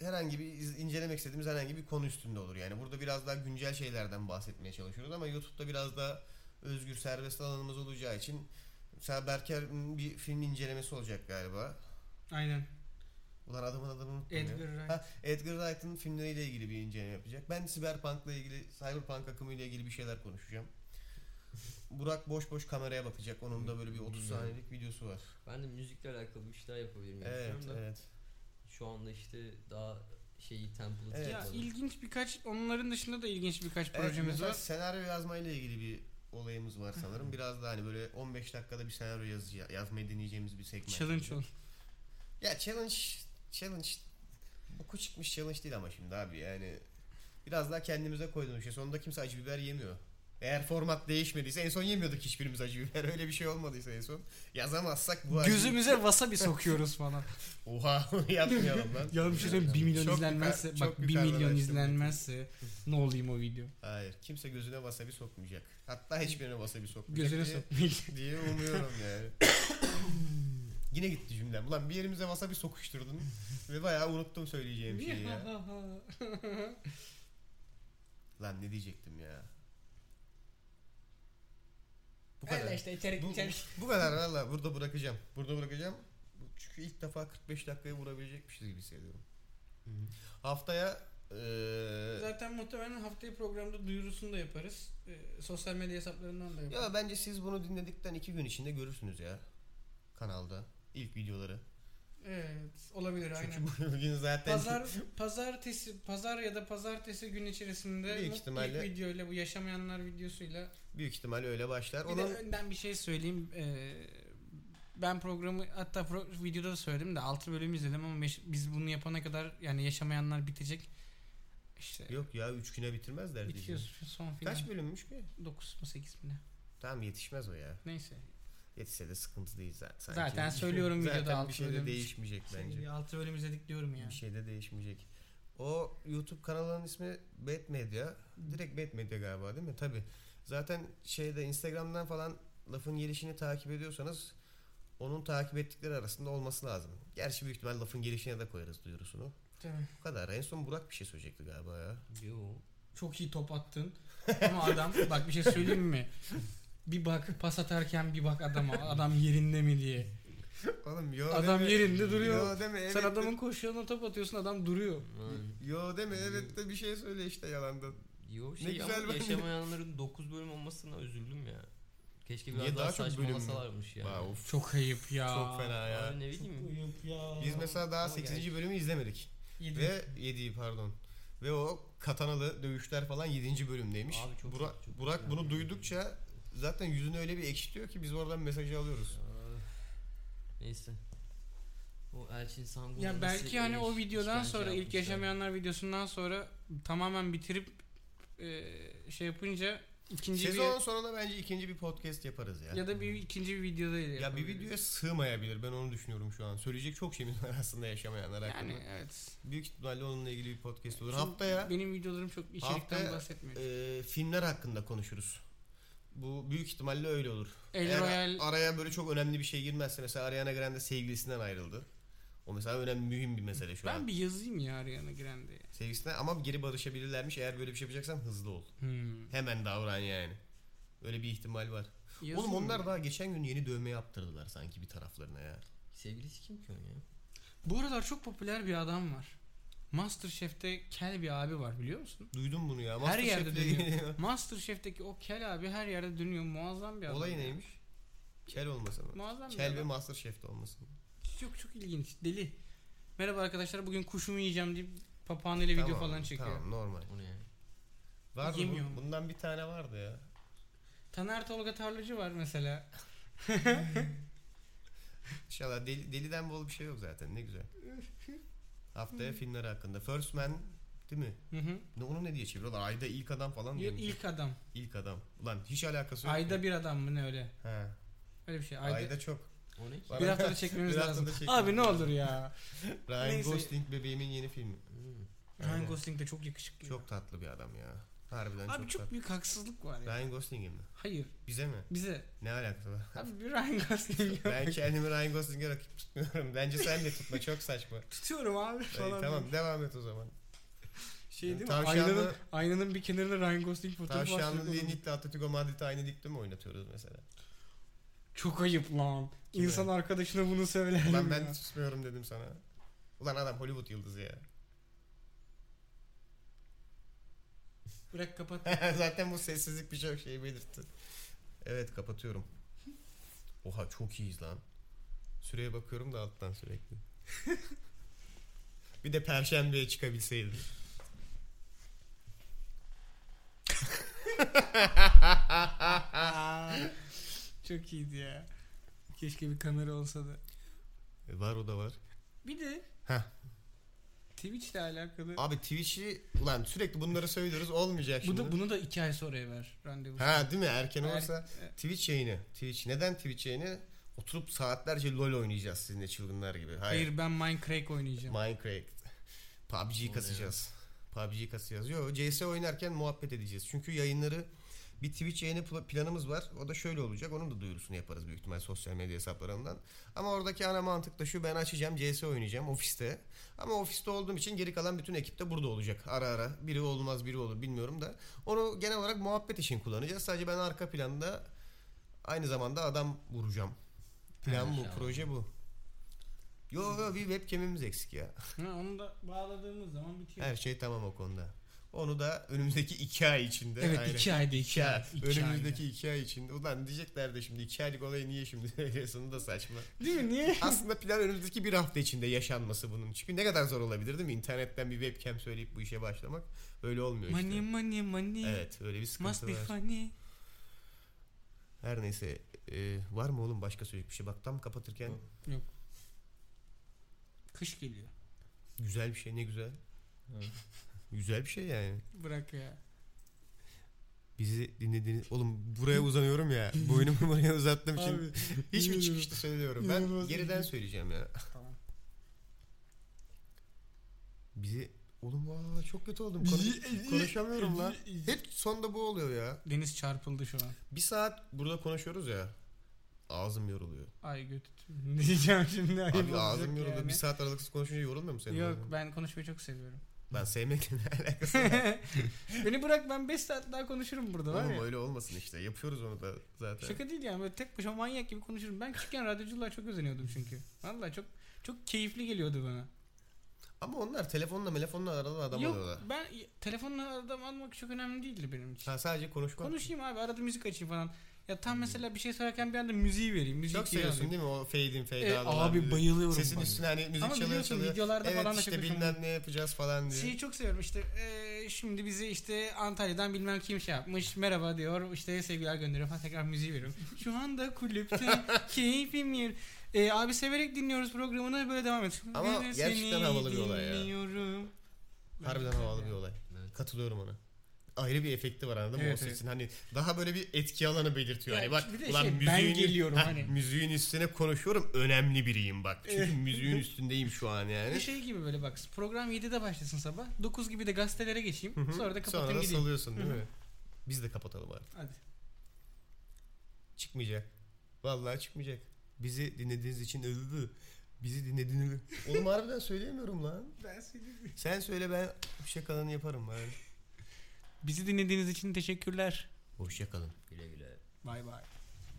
Speaker 4: herhangi bir iz- incelemek istediğimiz herhangi bir konu üstünde olur. Yani burada biraz daha güncel şeylerden bahsetmeye çalışıyoruz ama YouTube'da biraz daha özgür serbest alanımız olacağı için mesela Berker'in bir film incelemesi olacak galiba.
Speaker 6: aynen.
Speaker 4: Ulan adamın adını unuttum ya.
Speaker 6: Edgar Wright.
Speaker 4: Ha, Edgar Wright'ın filmleriyle ilgili bir inceleme yapacak. Ben Cyberpunk'la ilgili, Cyberpunk akımıyla ilgili bir şeyler konuşacağım. Burak boş boş kameraya bakacak. Onun da böyle bir 30
Speaker 5: Bilmiyorum.
Speaker 4: saniyelik videosu var.
Speaker 5: Ben de müzikle alakalı bir şeyler yapabilirim. diye
Speaker 4: Evet,
Speaker 5: düşünüyorum da.
Speaker 4: evet.
Speaker 5: Şu anda işte daha şeyi template'ı
Speaker 4: Evet.
Speaker 6: Ya
Speaker 5: yapmadım.
Speaker 6: ilginç birkaç onların dışında da ilginç birkaç
Speaker 4: Evet,
Speaker 6: projemiz
Speaker 4: mesela
Speaker 6: var.
Speaker 4: senaryo yazmayla ilgili bir olayımız var sanırım. Biraz da hani böyle 15 dakikada bir senaryo yazacağız, yazmayı deneyeceğimiz bir segment.
Speaker 6: Challenge ol.
Speaker 4: Ya challenge, challenge boku çıkmış challenge değil ama şimdi abi yani. Biraz daha kendimize koyduğumuz şey. Sonunda kimse acı biber yemiyor. Eğer format değişmediyse en son yemiyorduk hiçbirimiz acı biber. [laughs] Öyle bir şey olmadıysa en son. Yazamazsak bu acı...
Speaker 6: Gözümüze wasabi sokuyoruz
Speaker 4: [laughs]
Speaker 6: falan.
Speaker 4: Oha onu yapmayalım lan.
Speaker 6: Ya bir şey söyleyeyim 1 milyon
Speaker 4: Çok
Speaker 6: izlenmezse
Speaker 4: yukarı-
Speaker 6: bak
Speaker 4: çok
Speaker 6: 1
Speaker 4: yukarıdan
Speaker 6: milyon
Speaker 4: açtım.
Speaker 6: izlenmezse ne olayım o video.
Speaker 4: Hayır kimse gözüne wasabi sokmayacak. Hatta hiçbirine wasabi sokmayacak.
Speaker 6: Gözüne
Speaker 4: diye-
Speaker 6: sokmayın.
Speaker 4: diye umuyorum yani.
Speaker 6: [coughs]
Speaker 4: Yine gitti cümlem. Ulan bir yerimize wasabi sokuşturdun
Speaker 6: [laughs]
Speaker 4: ve bayağı unuttum söyleyeceğim şeyi Şey, ya. Lan ne diyecektim ya. Bu kadar.
Speaker 6: işte içerik
Speaker 4: Bu, bu- bu kadar valla burada bırakacağım. Burada bırakacağım. Bu- Çünkü ilk defa 45 dakikaya vurabilecekmişiz gibi hissediyorum. Haftaya eee
Speaker 6: Zaten muhtemelen haftaya programda duyurusunu da yaparız. Ee, sosyal medya hesaplarından da yaparız.
Speaker 4: ya bence siz bunu dinledikten iki gün içinde görürsünüz ya kanalda ilk videoları.
Speaker 6: Evet, olabilir aynen.
Speaker 4: Çünkü [laughs] bugün zaten
Speaker 6: Pazar pazartesi pazar ya da pazartesi gün içerisinde
Speaker 4: Büyük
Speaker 6: bu
Speaker 4: ihtimalle-
Speaker 6: ilk videoyla bu yaşamayanlar videosuyla
Speaker 4: büyük ihtimal öyle başlar.
Speaker 6: Bir de önden bir şey söyleyeyim. Ee, ben programı hatta pro- videoda da söyledim de 6 bölüm izledim ama beş- biz bunu yapana kadar yani yaşamayanlar bitecek. İşte
Speaker 4: Yok ya 3 güne bitirmezler diye.
Speaker 6: bitiyor son filan.
Speaker 4: Kaç bölümmüş ki?
Speaker 6: 9 mu 8 mi ne?
Speaker 4: Tamam yetişmez o ya.
Speaker 6: Neyse.
Speaker 4: Yetişse de sıkıntı değil zaten. sanki. şey-
Speaker 6: Zaten söylüyorum
Speaker 4: Zaten
Speaker 6: videoda altı
Speaker 4: bir şey de
Speaker 6: bölüm.
Speaker 4: değişmeyecek bence.
Speaker 6: 6 bölüm izledik diyorum ya.
Speaker 4: Bir şey de değişmeyecek. O YouTube kanalının ismi Bad Media. Direkt Bad Media galiba değil mi? Tabi. Zaten şeyde Instagram'dan falan lafın gelişini takip ediyorsanız onun takip ettikleri arasında olması lazım. Gerçi büyük ihtimal lafın gelişine de koyarız duyurusunu.
Speaker 6: Tabii.
Speaker 4: Bu kadar. En son Burak bir şey söyleyecekti galiba ya.
Speaker 5: Yo.
Speaker 6: Çok iyi top attın. Ama
Speaker 4: [laughs]
Speaker 6: adam bak bir şey söyleyeyim mi? Bir bak pas atarken bir bak adama. Adam yerinde mi diye.
Speaker 4: Oğlum yo
Speaker 6: Adam deme. yerinde duruyor.
Speaker 4: Yo deme, evet
Speaker 6: Sen
Speaker 4: de-
Speaker 6: adamın koşuyoruna top atıyorsun adam duruyor.
Speaker 5: Man.
Speaker 4: Yo deme evet de bir şey söyle işte yalandan.
Speaker 5: Yo
Speaker 4: Ne
Speaker 5: şey
Speaker 4: güzel
Speaker 5: ama
Speaker 4: ben-
Speaker 5: yaşamayanların 9 bölüm olmasına üzüldüm ya. Keşke biraz
Speaker 4: Niye
Speaker 5: daha,
Speaker 4: daha çok bölüm mü?
Speaker 5: saçmalasalarmış yani.
Speaker 4: Vay, of.
Speaker 6: Çok ayıp ya.
Speaker 4: Çok fena ya.
Speaker 5: Abi ne bileyim.
Speaker 6: Ayıp ya.
Speaker 4: Biz mesela daha
Speaker 5: Ama
Speaker 4: 8.
Speaker 5: gerçi-
Speaker 4: bölümü izlemedik.
Speaker 6: Yedi.
Speaker 4: Ve 7'yi pardon. Ve o katanalı dövüşler falan 7. bölümdeymiş.
Speaker 5: Abi çok-
Speaker 4: Burak,
Speaker 5: çok-
Speaker 4: Burak bunu duydukça zaten yüzünü öyle bir ekşitiyor ki biz oradan mesajı alıyoruz.
Speaker 5: Neyse. O Elçin Sangun'u
Speaker 6: Ya
Speaker 5: nasıl
Speaker 6: belki hani o
Speaker 5: iş-
Speaker 6: videodan
Speaker 5: işkence
Speaker 6: sonra ilk
Speaker 5: yapmışlar.
Speaker 6: yaşamayanlar videosundan sonra tamamen bitirip e, şey yapınca ikinci
Speaker 4: Sezon sonunda bence ikinci bir podcast yaparız
Speaker 6: bir ya da bir ikinci bir videoda ile
Speaker 4: Ya bir
Speaker 6: yapabiliriz.
Speaker 4: videoya sığmayabilir. Ben onu düşünüyorum şu an. Söyleyecek çok şeyimiz var aslında yaşamayanlar hakkında.
Speaker 6: yani evet.
Speaker 4: Büyük ihtimalle onunla ilgili bir podcast olur.
Speaker 6: Çünkü
Speaker 4: Haftaya
Speaker 6: Benim videolarım çok içerikten
Speaker 4: Haftaya-
Speaker 6: bahsetmiyor.
Speaker 4: e, filmler hakkında konuşuruz. Bu büyük ihtimalle öyle olur.
Speaker 6: El
Speaker 4: Eğer
Speaker 6: Royale-
Speaker 4: araya böyle çok önemli bir şey girmezse mesela Ariana Grande sevgilisinden ayrıldı. O mesela önemli mühim bir mesele şu
Speaker 6: Ben
Speaker 4: an.
Speaker 6: bir yazayım ya Ariana Grande'ye.
Speaker 4: Sevgilisinden ama geri barışabilirlermiş. Eğer böyle bir şey yapacaksan hızlı ol.
Speaker 6: Hmm.
Speaker 4: Hemen davran yani. Öyle bir ihtimal var.
Speaker 6: Yazayım
Speaker 4: Oğlum onlar
Speaker 6: mı?
Speaker 4: daha geçen gün yeni dövme yaptırdılar sanki bir taraflarına ya.
Speaker 5: Sevgilisi kim ki o ya?
Speaker 6: Bu aralar çok popüler bir adam var. Masterchef'te kel bir abi var biliyor musun?
Speaker 4: Duydum bunu ya.
Speaker 6: her yerde
Speaker 4: Masterchef'le-
Speaker 6: [laughs] dönüyor. Masterchef'teki o kel abi her yerde dönüyor. Muazzam bir adam.
Speaker 4: Olay neymiş? Kel olması mı?
Speaker 6: Muazzam bir
Speaker 4: Kel ve
Speaker 6: adam.
Speaker 4: Masterchef'te olması mı?
Speaker 6: Çok çok ilginç. Deli. Merhaba arkadaşlar bugün kuşumu yiyeceğim deyip papağanıyla video
Speaker 4: Tamam,
Speaker 6: falan çekiyor.
Speaker 4: Tamam normal.
Speaker 5: O ne ya?
Speaker 4: Var mı?
Speaker 6: Yemiyorum.
Speaker 4: bu- Bundan bir tane vardı ya.
Speaker 6: Taner Tolga Tarlacı var mesela.
Speaker 4: İnşallah deli, deliden bol bir şey yok zaten ne güzel. Haftaya filmler hakkında. First Man değil mi?
Speaker 6: Hı hı.
Speaker 4: Ne, onu ne diye çeviriyorlar? Ayda ilk adam falan diye.
Speaker 6: Yok,
Speaker 4: mi?
Speaker 6: ilk adam.
Speaker 4: İlk adam. Ulan hiç alakası yok.
Speaker 6: Ayda bir adam mı ne öyle?
Speaker 4: He.
Speaker 6: Öyle bir şey. Ayda,
Speaker 4: Ayda, çok.
Speaker 5: O ne ki?
Speaker 6: bir haftada çekmemiz
Speaker 4: Bir
Speaker 6: lazım.
Speaker 4: haftada çekmemiz
Speaker 6: Abi ne
Speaker 4: lazım.
Speaker 6: olur ya.
Speaker 4: Ryan
Speaker 6: Neyse.
Speaker 4: Gosling bebeğimin yeni filmi.
Speaker 5: Hmm.
Speaker 6: Ryan
Speaker 4: Aynen.
Speaker 6: Gosling de çok yakışıklı.
Speaker 4: Çok tatlı bir adam ya. Harbiden
Speaker 6: Abi
Speaker 4: çok,
Speaker 6: çok
Speaker 4: tatlı.
Speaker 6: büyük haksızlık var ya.
Speaker 4: Ryan Gosling'e mi?
Speaker 6: Hayır
Speaker 4: Bize mi?
Speaker 6: bize.
Speaker 4: Ne alakası var? [laughs]
Speaker 6: Abi bir Ryan Gosling yok.
Speaker 4: ben kendimi Ryan Gosling'e rakip tutmuyorum. Bence sen de tutma çok saçma.
Speaker 6: Tutuyorum abi
Speaker 4: Ee,
Speaker 6: falan.
Speaker 4: tamam devam et o zaman.
Speaker 6: Şey değil mi?
Speaker 4: Tavşanlı-
Speaker 6: Aynanın, aynanın bir kenarına Ryan Gosling fotoğrafı
Speaker 4: Tavşanlı
Speaker 6: astırıyor.
Speaker 4: Linik'le Atletico Madrid'i aynı ligde mi oynatıyoruz mesela?
Speaker 6: Çok ayıp lan.
Speaker 4: Kime?
Speaker 6: İnsan arkadaşına bunu söyler
Speaker 4: Ulan
Speaker 6: mi
Speaker 4: ben
Speaker 6: ya?
Speaker 4: tutmuyorum dedim sana. Ulan adam Hollywood yıldızı ya. [laughs]
Speaker 6: Bırak kapat.
Speaker 4: Zaten bu sessizlik birçok şeyi belirtti. Evet kapatıyorum. Oha çok iyiyiz lan. Süreye bakıyorum da alttan sürekli. [laughs] bir de perşembeye çıkabilseydim. [laughs]
Speaker 6: Çok iyiydi ya. Keşke bir kamera olsa da.
Speaker 4: E, var o da var.
Speaker 6: Bir de
Speaker 4: Heh.
Speaker 6: Twitch'le alakalı.
Speaker 4: Abi Twitch'i ulan sürekli bunları söylüyoruz olmayacak
Speaker 6: Bu
Speaker 4: şimdi.
Speaker 6: da, bunu da iki ay sonraya ver randevu.
Speaker 4: Ha değil mi? Erken
Speaker 6: Er-
Speaker 4: olsa Twitch yayını. Twitch. Neden Twitch yayını? Oturup saatlerce LoL oynayacağız sizinle çılgınlar gibi. Hayır.
Speaker 6: Hayır ben Minecraft oynayacağım.
Speaker 4: Minecraft. PUBG kasacağız. PUBG kasacağız. Yo CS oynarken muhabbet edeceğiz. Çünkü yayınları bir Twitch yayını pla- planımız var. O da şöyle olacak. Onun da duyurusunu yaparız büyük ihtimal sosyal medya hesaplarından. Ama oradaki ana mantık da şu. Ben açacağım CS oynayacağım ofiste. Ama ofiste olduğum için geri kalan bütün ekip de burada olacak. Ara ara. Biri olmaz biri olur bilmiyorum da. Onu genel olarak muhabbet için kullanacağız. Sadece ben arka planda aynı zamanda adam vuracağım. Plan bu.
Speaker 5: Maşallah.
Speaker 4: Proje bu. Yo yo bir webcam'imiz eksik ya.
Speaker 6: Ha, onu da bağladığımız zaman bitiyor.
Speaker 4: Her şey tamam o konuda. Onu da önümüzdeki iki ay içinde.
Speaker 6: Evet
Speaker 4: aynen.
Speaker 6: iki ayda iki,
Speaker 4: [laughs] İki ay.
Speaker 6: ay. iki
Speaker 4: önümüzdeki iki ay içinde. Ulan diyecekler de şimdi iki aylık olayı niye şimdi [laughs] söylüyorsun da saçma.
Speaker 6: ayda. Değil mi niye?
Speaker 4: Aslında plan önümüzdeki bir hafta içinde yaşanması bunun. Çünkü ne kadar zor olabilir değil mi? İnternetten bir webcam söyleyip bu işe başlamak öyle olmuyor işte.
Speaker 6: Money money money.
Speaker 4: Evet öyle bir
Speaker 6: Must be
Speaker 4: sıkıntı var.
Speaker 6: funny.
Speaker 4: Her neyse e, var mı oğlum başka söyleyecek bir şey? Bak tam kapatırken
Speaker 5: Yok.
Speaker 6: Kış geliyor.
Speaker 4: güzel bir şey ne güzel.
Speaker 5: Evet.
Speaker 4: güzel bir şey yani.
Speaker 6: Bırak ya.
Speaker 4: Bizi dinlediğiniz... Oğlum buraya uzanıyorum ya. Boynumu [laughs] buraya uzattığım için [laughs]
Speaker 6: Abi.
Speaker 4: Hiç mi
Speaker 6: İnanılmaz.
Speaker 4: çıkışta söylüyorum? Ben
Speaker 6: İnanılmaz şey.
Speaker 4: geriden
Speaker 6: ilginç.
Speaker 4: söyleyeceğim ya.
Speaker 6: Tamam.
Speaker 4: Bizi... Oğlum vaa çok kötü oldum. Konu- konuşamıyorum lan. Hep sonda bu oluyor ya.
Speaker 6: Deniz çarpıldı şu an.
Speaker 4: Bir saat burada konuşuyoruz ya. Ağzım yoruluyor.
Speaker 6: Ay götürdüm. [laughs] Ne diyeceğim şimdi? ayıp
Speaker 4: Abi
Speaker 6: olacak
Speaker 4: ağzım yoruluyor.
Speaker 6: yani.
Speaker 4: Bir saat aralıksız konuşunca yorulmuyor mu senin?
Speaker 6: Yok
Speaker 4: ağzın?
Speaker 6: ben konuşmayı çok seviyorum. [laughs]
Speaker 4: Ben [laughs] sevmekle ne alakası var?
Speaker 6: Beni bırak ben 5 saat daha konuşurum burada var
Speaker 4: Oğlum
Speaker 6: ya.
Speaker 4: öyle olmasın işte. Yapıyoruz onu da zaten.
Speaker 6: Şaka değil yani böyle tek başıma manyak gibi konuşurum. Ben küçükken radyoculuğa çok özeniyordum çünkü. Vallahi çok çok keyifli geliyordu bana.
Speaker 4: Ama onlar telefonla telefonla aralı adam
Speaker 6: Yok
Speaker 4: alıyorlar.
Speaker 6: ben telefonla adam almak çok önemli değildi benim için.
Speaker 4: Ha, sadece konuşmak.
Speaker 6: Konuşayım abi arada müzik açayım falan. Ya tam mesela bir şey söylerken bir anda müziği vereyim. Müziği
Speaker 4: Hmm. Çok seviyorsun değil mi o fade in fade
Speaker 6: E,
Speaker 4: out olan
Speaker 6: abi
Speaker 4: müzik.
Speaker 6: bayılıyorum.
Speaker 4: Sesin
Speaker 6: bak.
Speaker 4: üstüne hani müzik
Speaker 6: Ama
Speaker 4: çalıyor
Speaker 6: biliyorsun
Speaker 4: çalıyor.
Speaker 6: videolarda
Speaker 4: Evet
Speaker 6: falan da
Speaker 4: işte
Speaker 6: çok hoşuma Şey-
Speaker 4: bilmem ne yapacağız falan diyor.
Speaker 6: Şeyi çok seviyorum işte eee, şimdi bizi işte Antalya'dan bilmem kim şey yapmış merhaba diyor işte sevgiler gönderiyor falan tekrar müziği veriyorum. Şu anda
Speaker 4: [laughs]
Speaker 6: kulüpte keyfim yer. Eee, abi severek dinliyoruz programını böyle devam et.
Speaker 4: Ama
Speaker 6: de
Speaker 4: gerçekten
Speaker 6: seni
Speaker 4: havalı bir olay ya.
Speaker 6: dinliyorum.
Speaker 4: Harbiden havalı bir olay.
Speaker 5: Evet.
Speaker 4: Katılıyorum ona. Ayrı bir efekti var anladın mı
Speaker 6: Evet,
Speaker 4: o sesin hani daha böyle bir etki alanı belirtiyor. Hani
Speaker 6: Ya
Speaker 4: bak
Speaker 6: bir de
Speaker 4: ulan
Speaker 6: şey, ben
Speaker 4: müziğin,
Speaker 6: geliyorum
Speaker 4: Heh,
Speaker 6: hani.
Speaker 4: müziğin üstüne konuşuyorum önemli biriyim bak. Çünkü
Speaker 6: [laughs]
Speaker 4: müziğin üstündeyim şu an
Speaker 6: Bir
Speaker 4: yani.
Speaker 6: şey gibi böyle bak program 7'de başlasın sabah 9 gibi de gazetelere geçeyim
Speaker 4: Hı hı.
Speaker 6: sonra da
Speaker 4: Sonra
Speaker 6: kapatayım
Speaker 4: da
Speaker 6: gideyim.
Speaker 4: salıyorsun değil
Speaker 6: Hı hı.
Speaker 4: mi? Biz de kapatalım artık.
Speaker 6: Hadi.
Speaker 4: Çıkmayacak. Vallahi çıkmayacak. Bizi dinlediğiniz için övüldü. Bizi dinlediğiniz... Oğlum harbiden söyleyemiyorum lan.
Speaker 6: Ben seni-
Speaker 4: Sen söyle ben hoşça kalın yaparım bari.
Speaker 6: Bizi dinlediğiniz için teşekkürler.
Speaker 4: Hoşça kalın.
Speaker 5: Güle güle.
Speaker 6: Bay bay.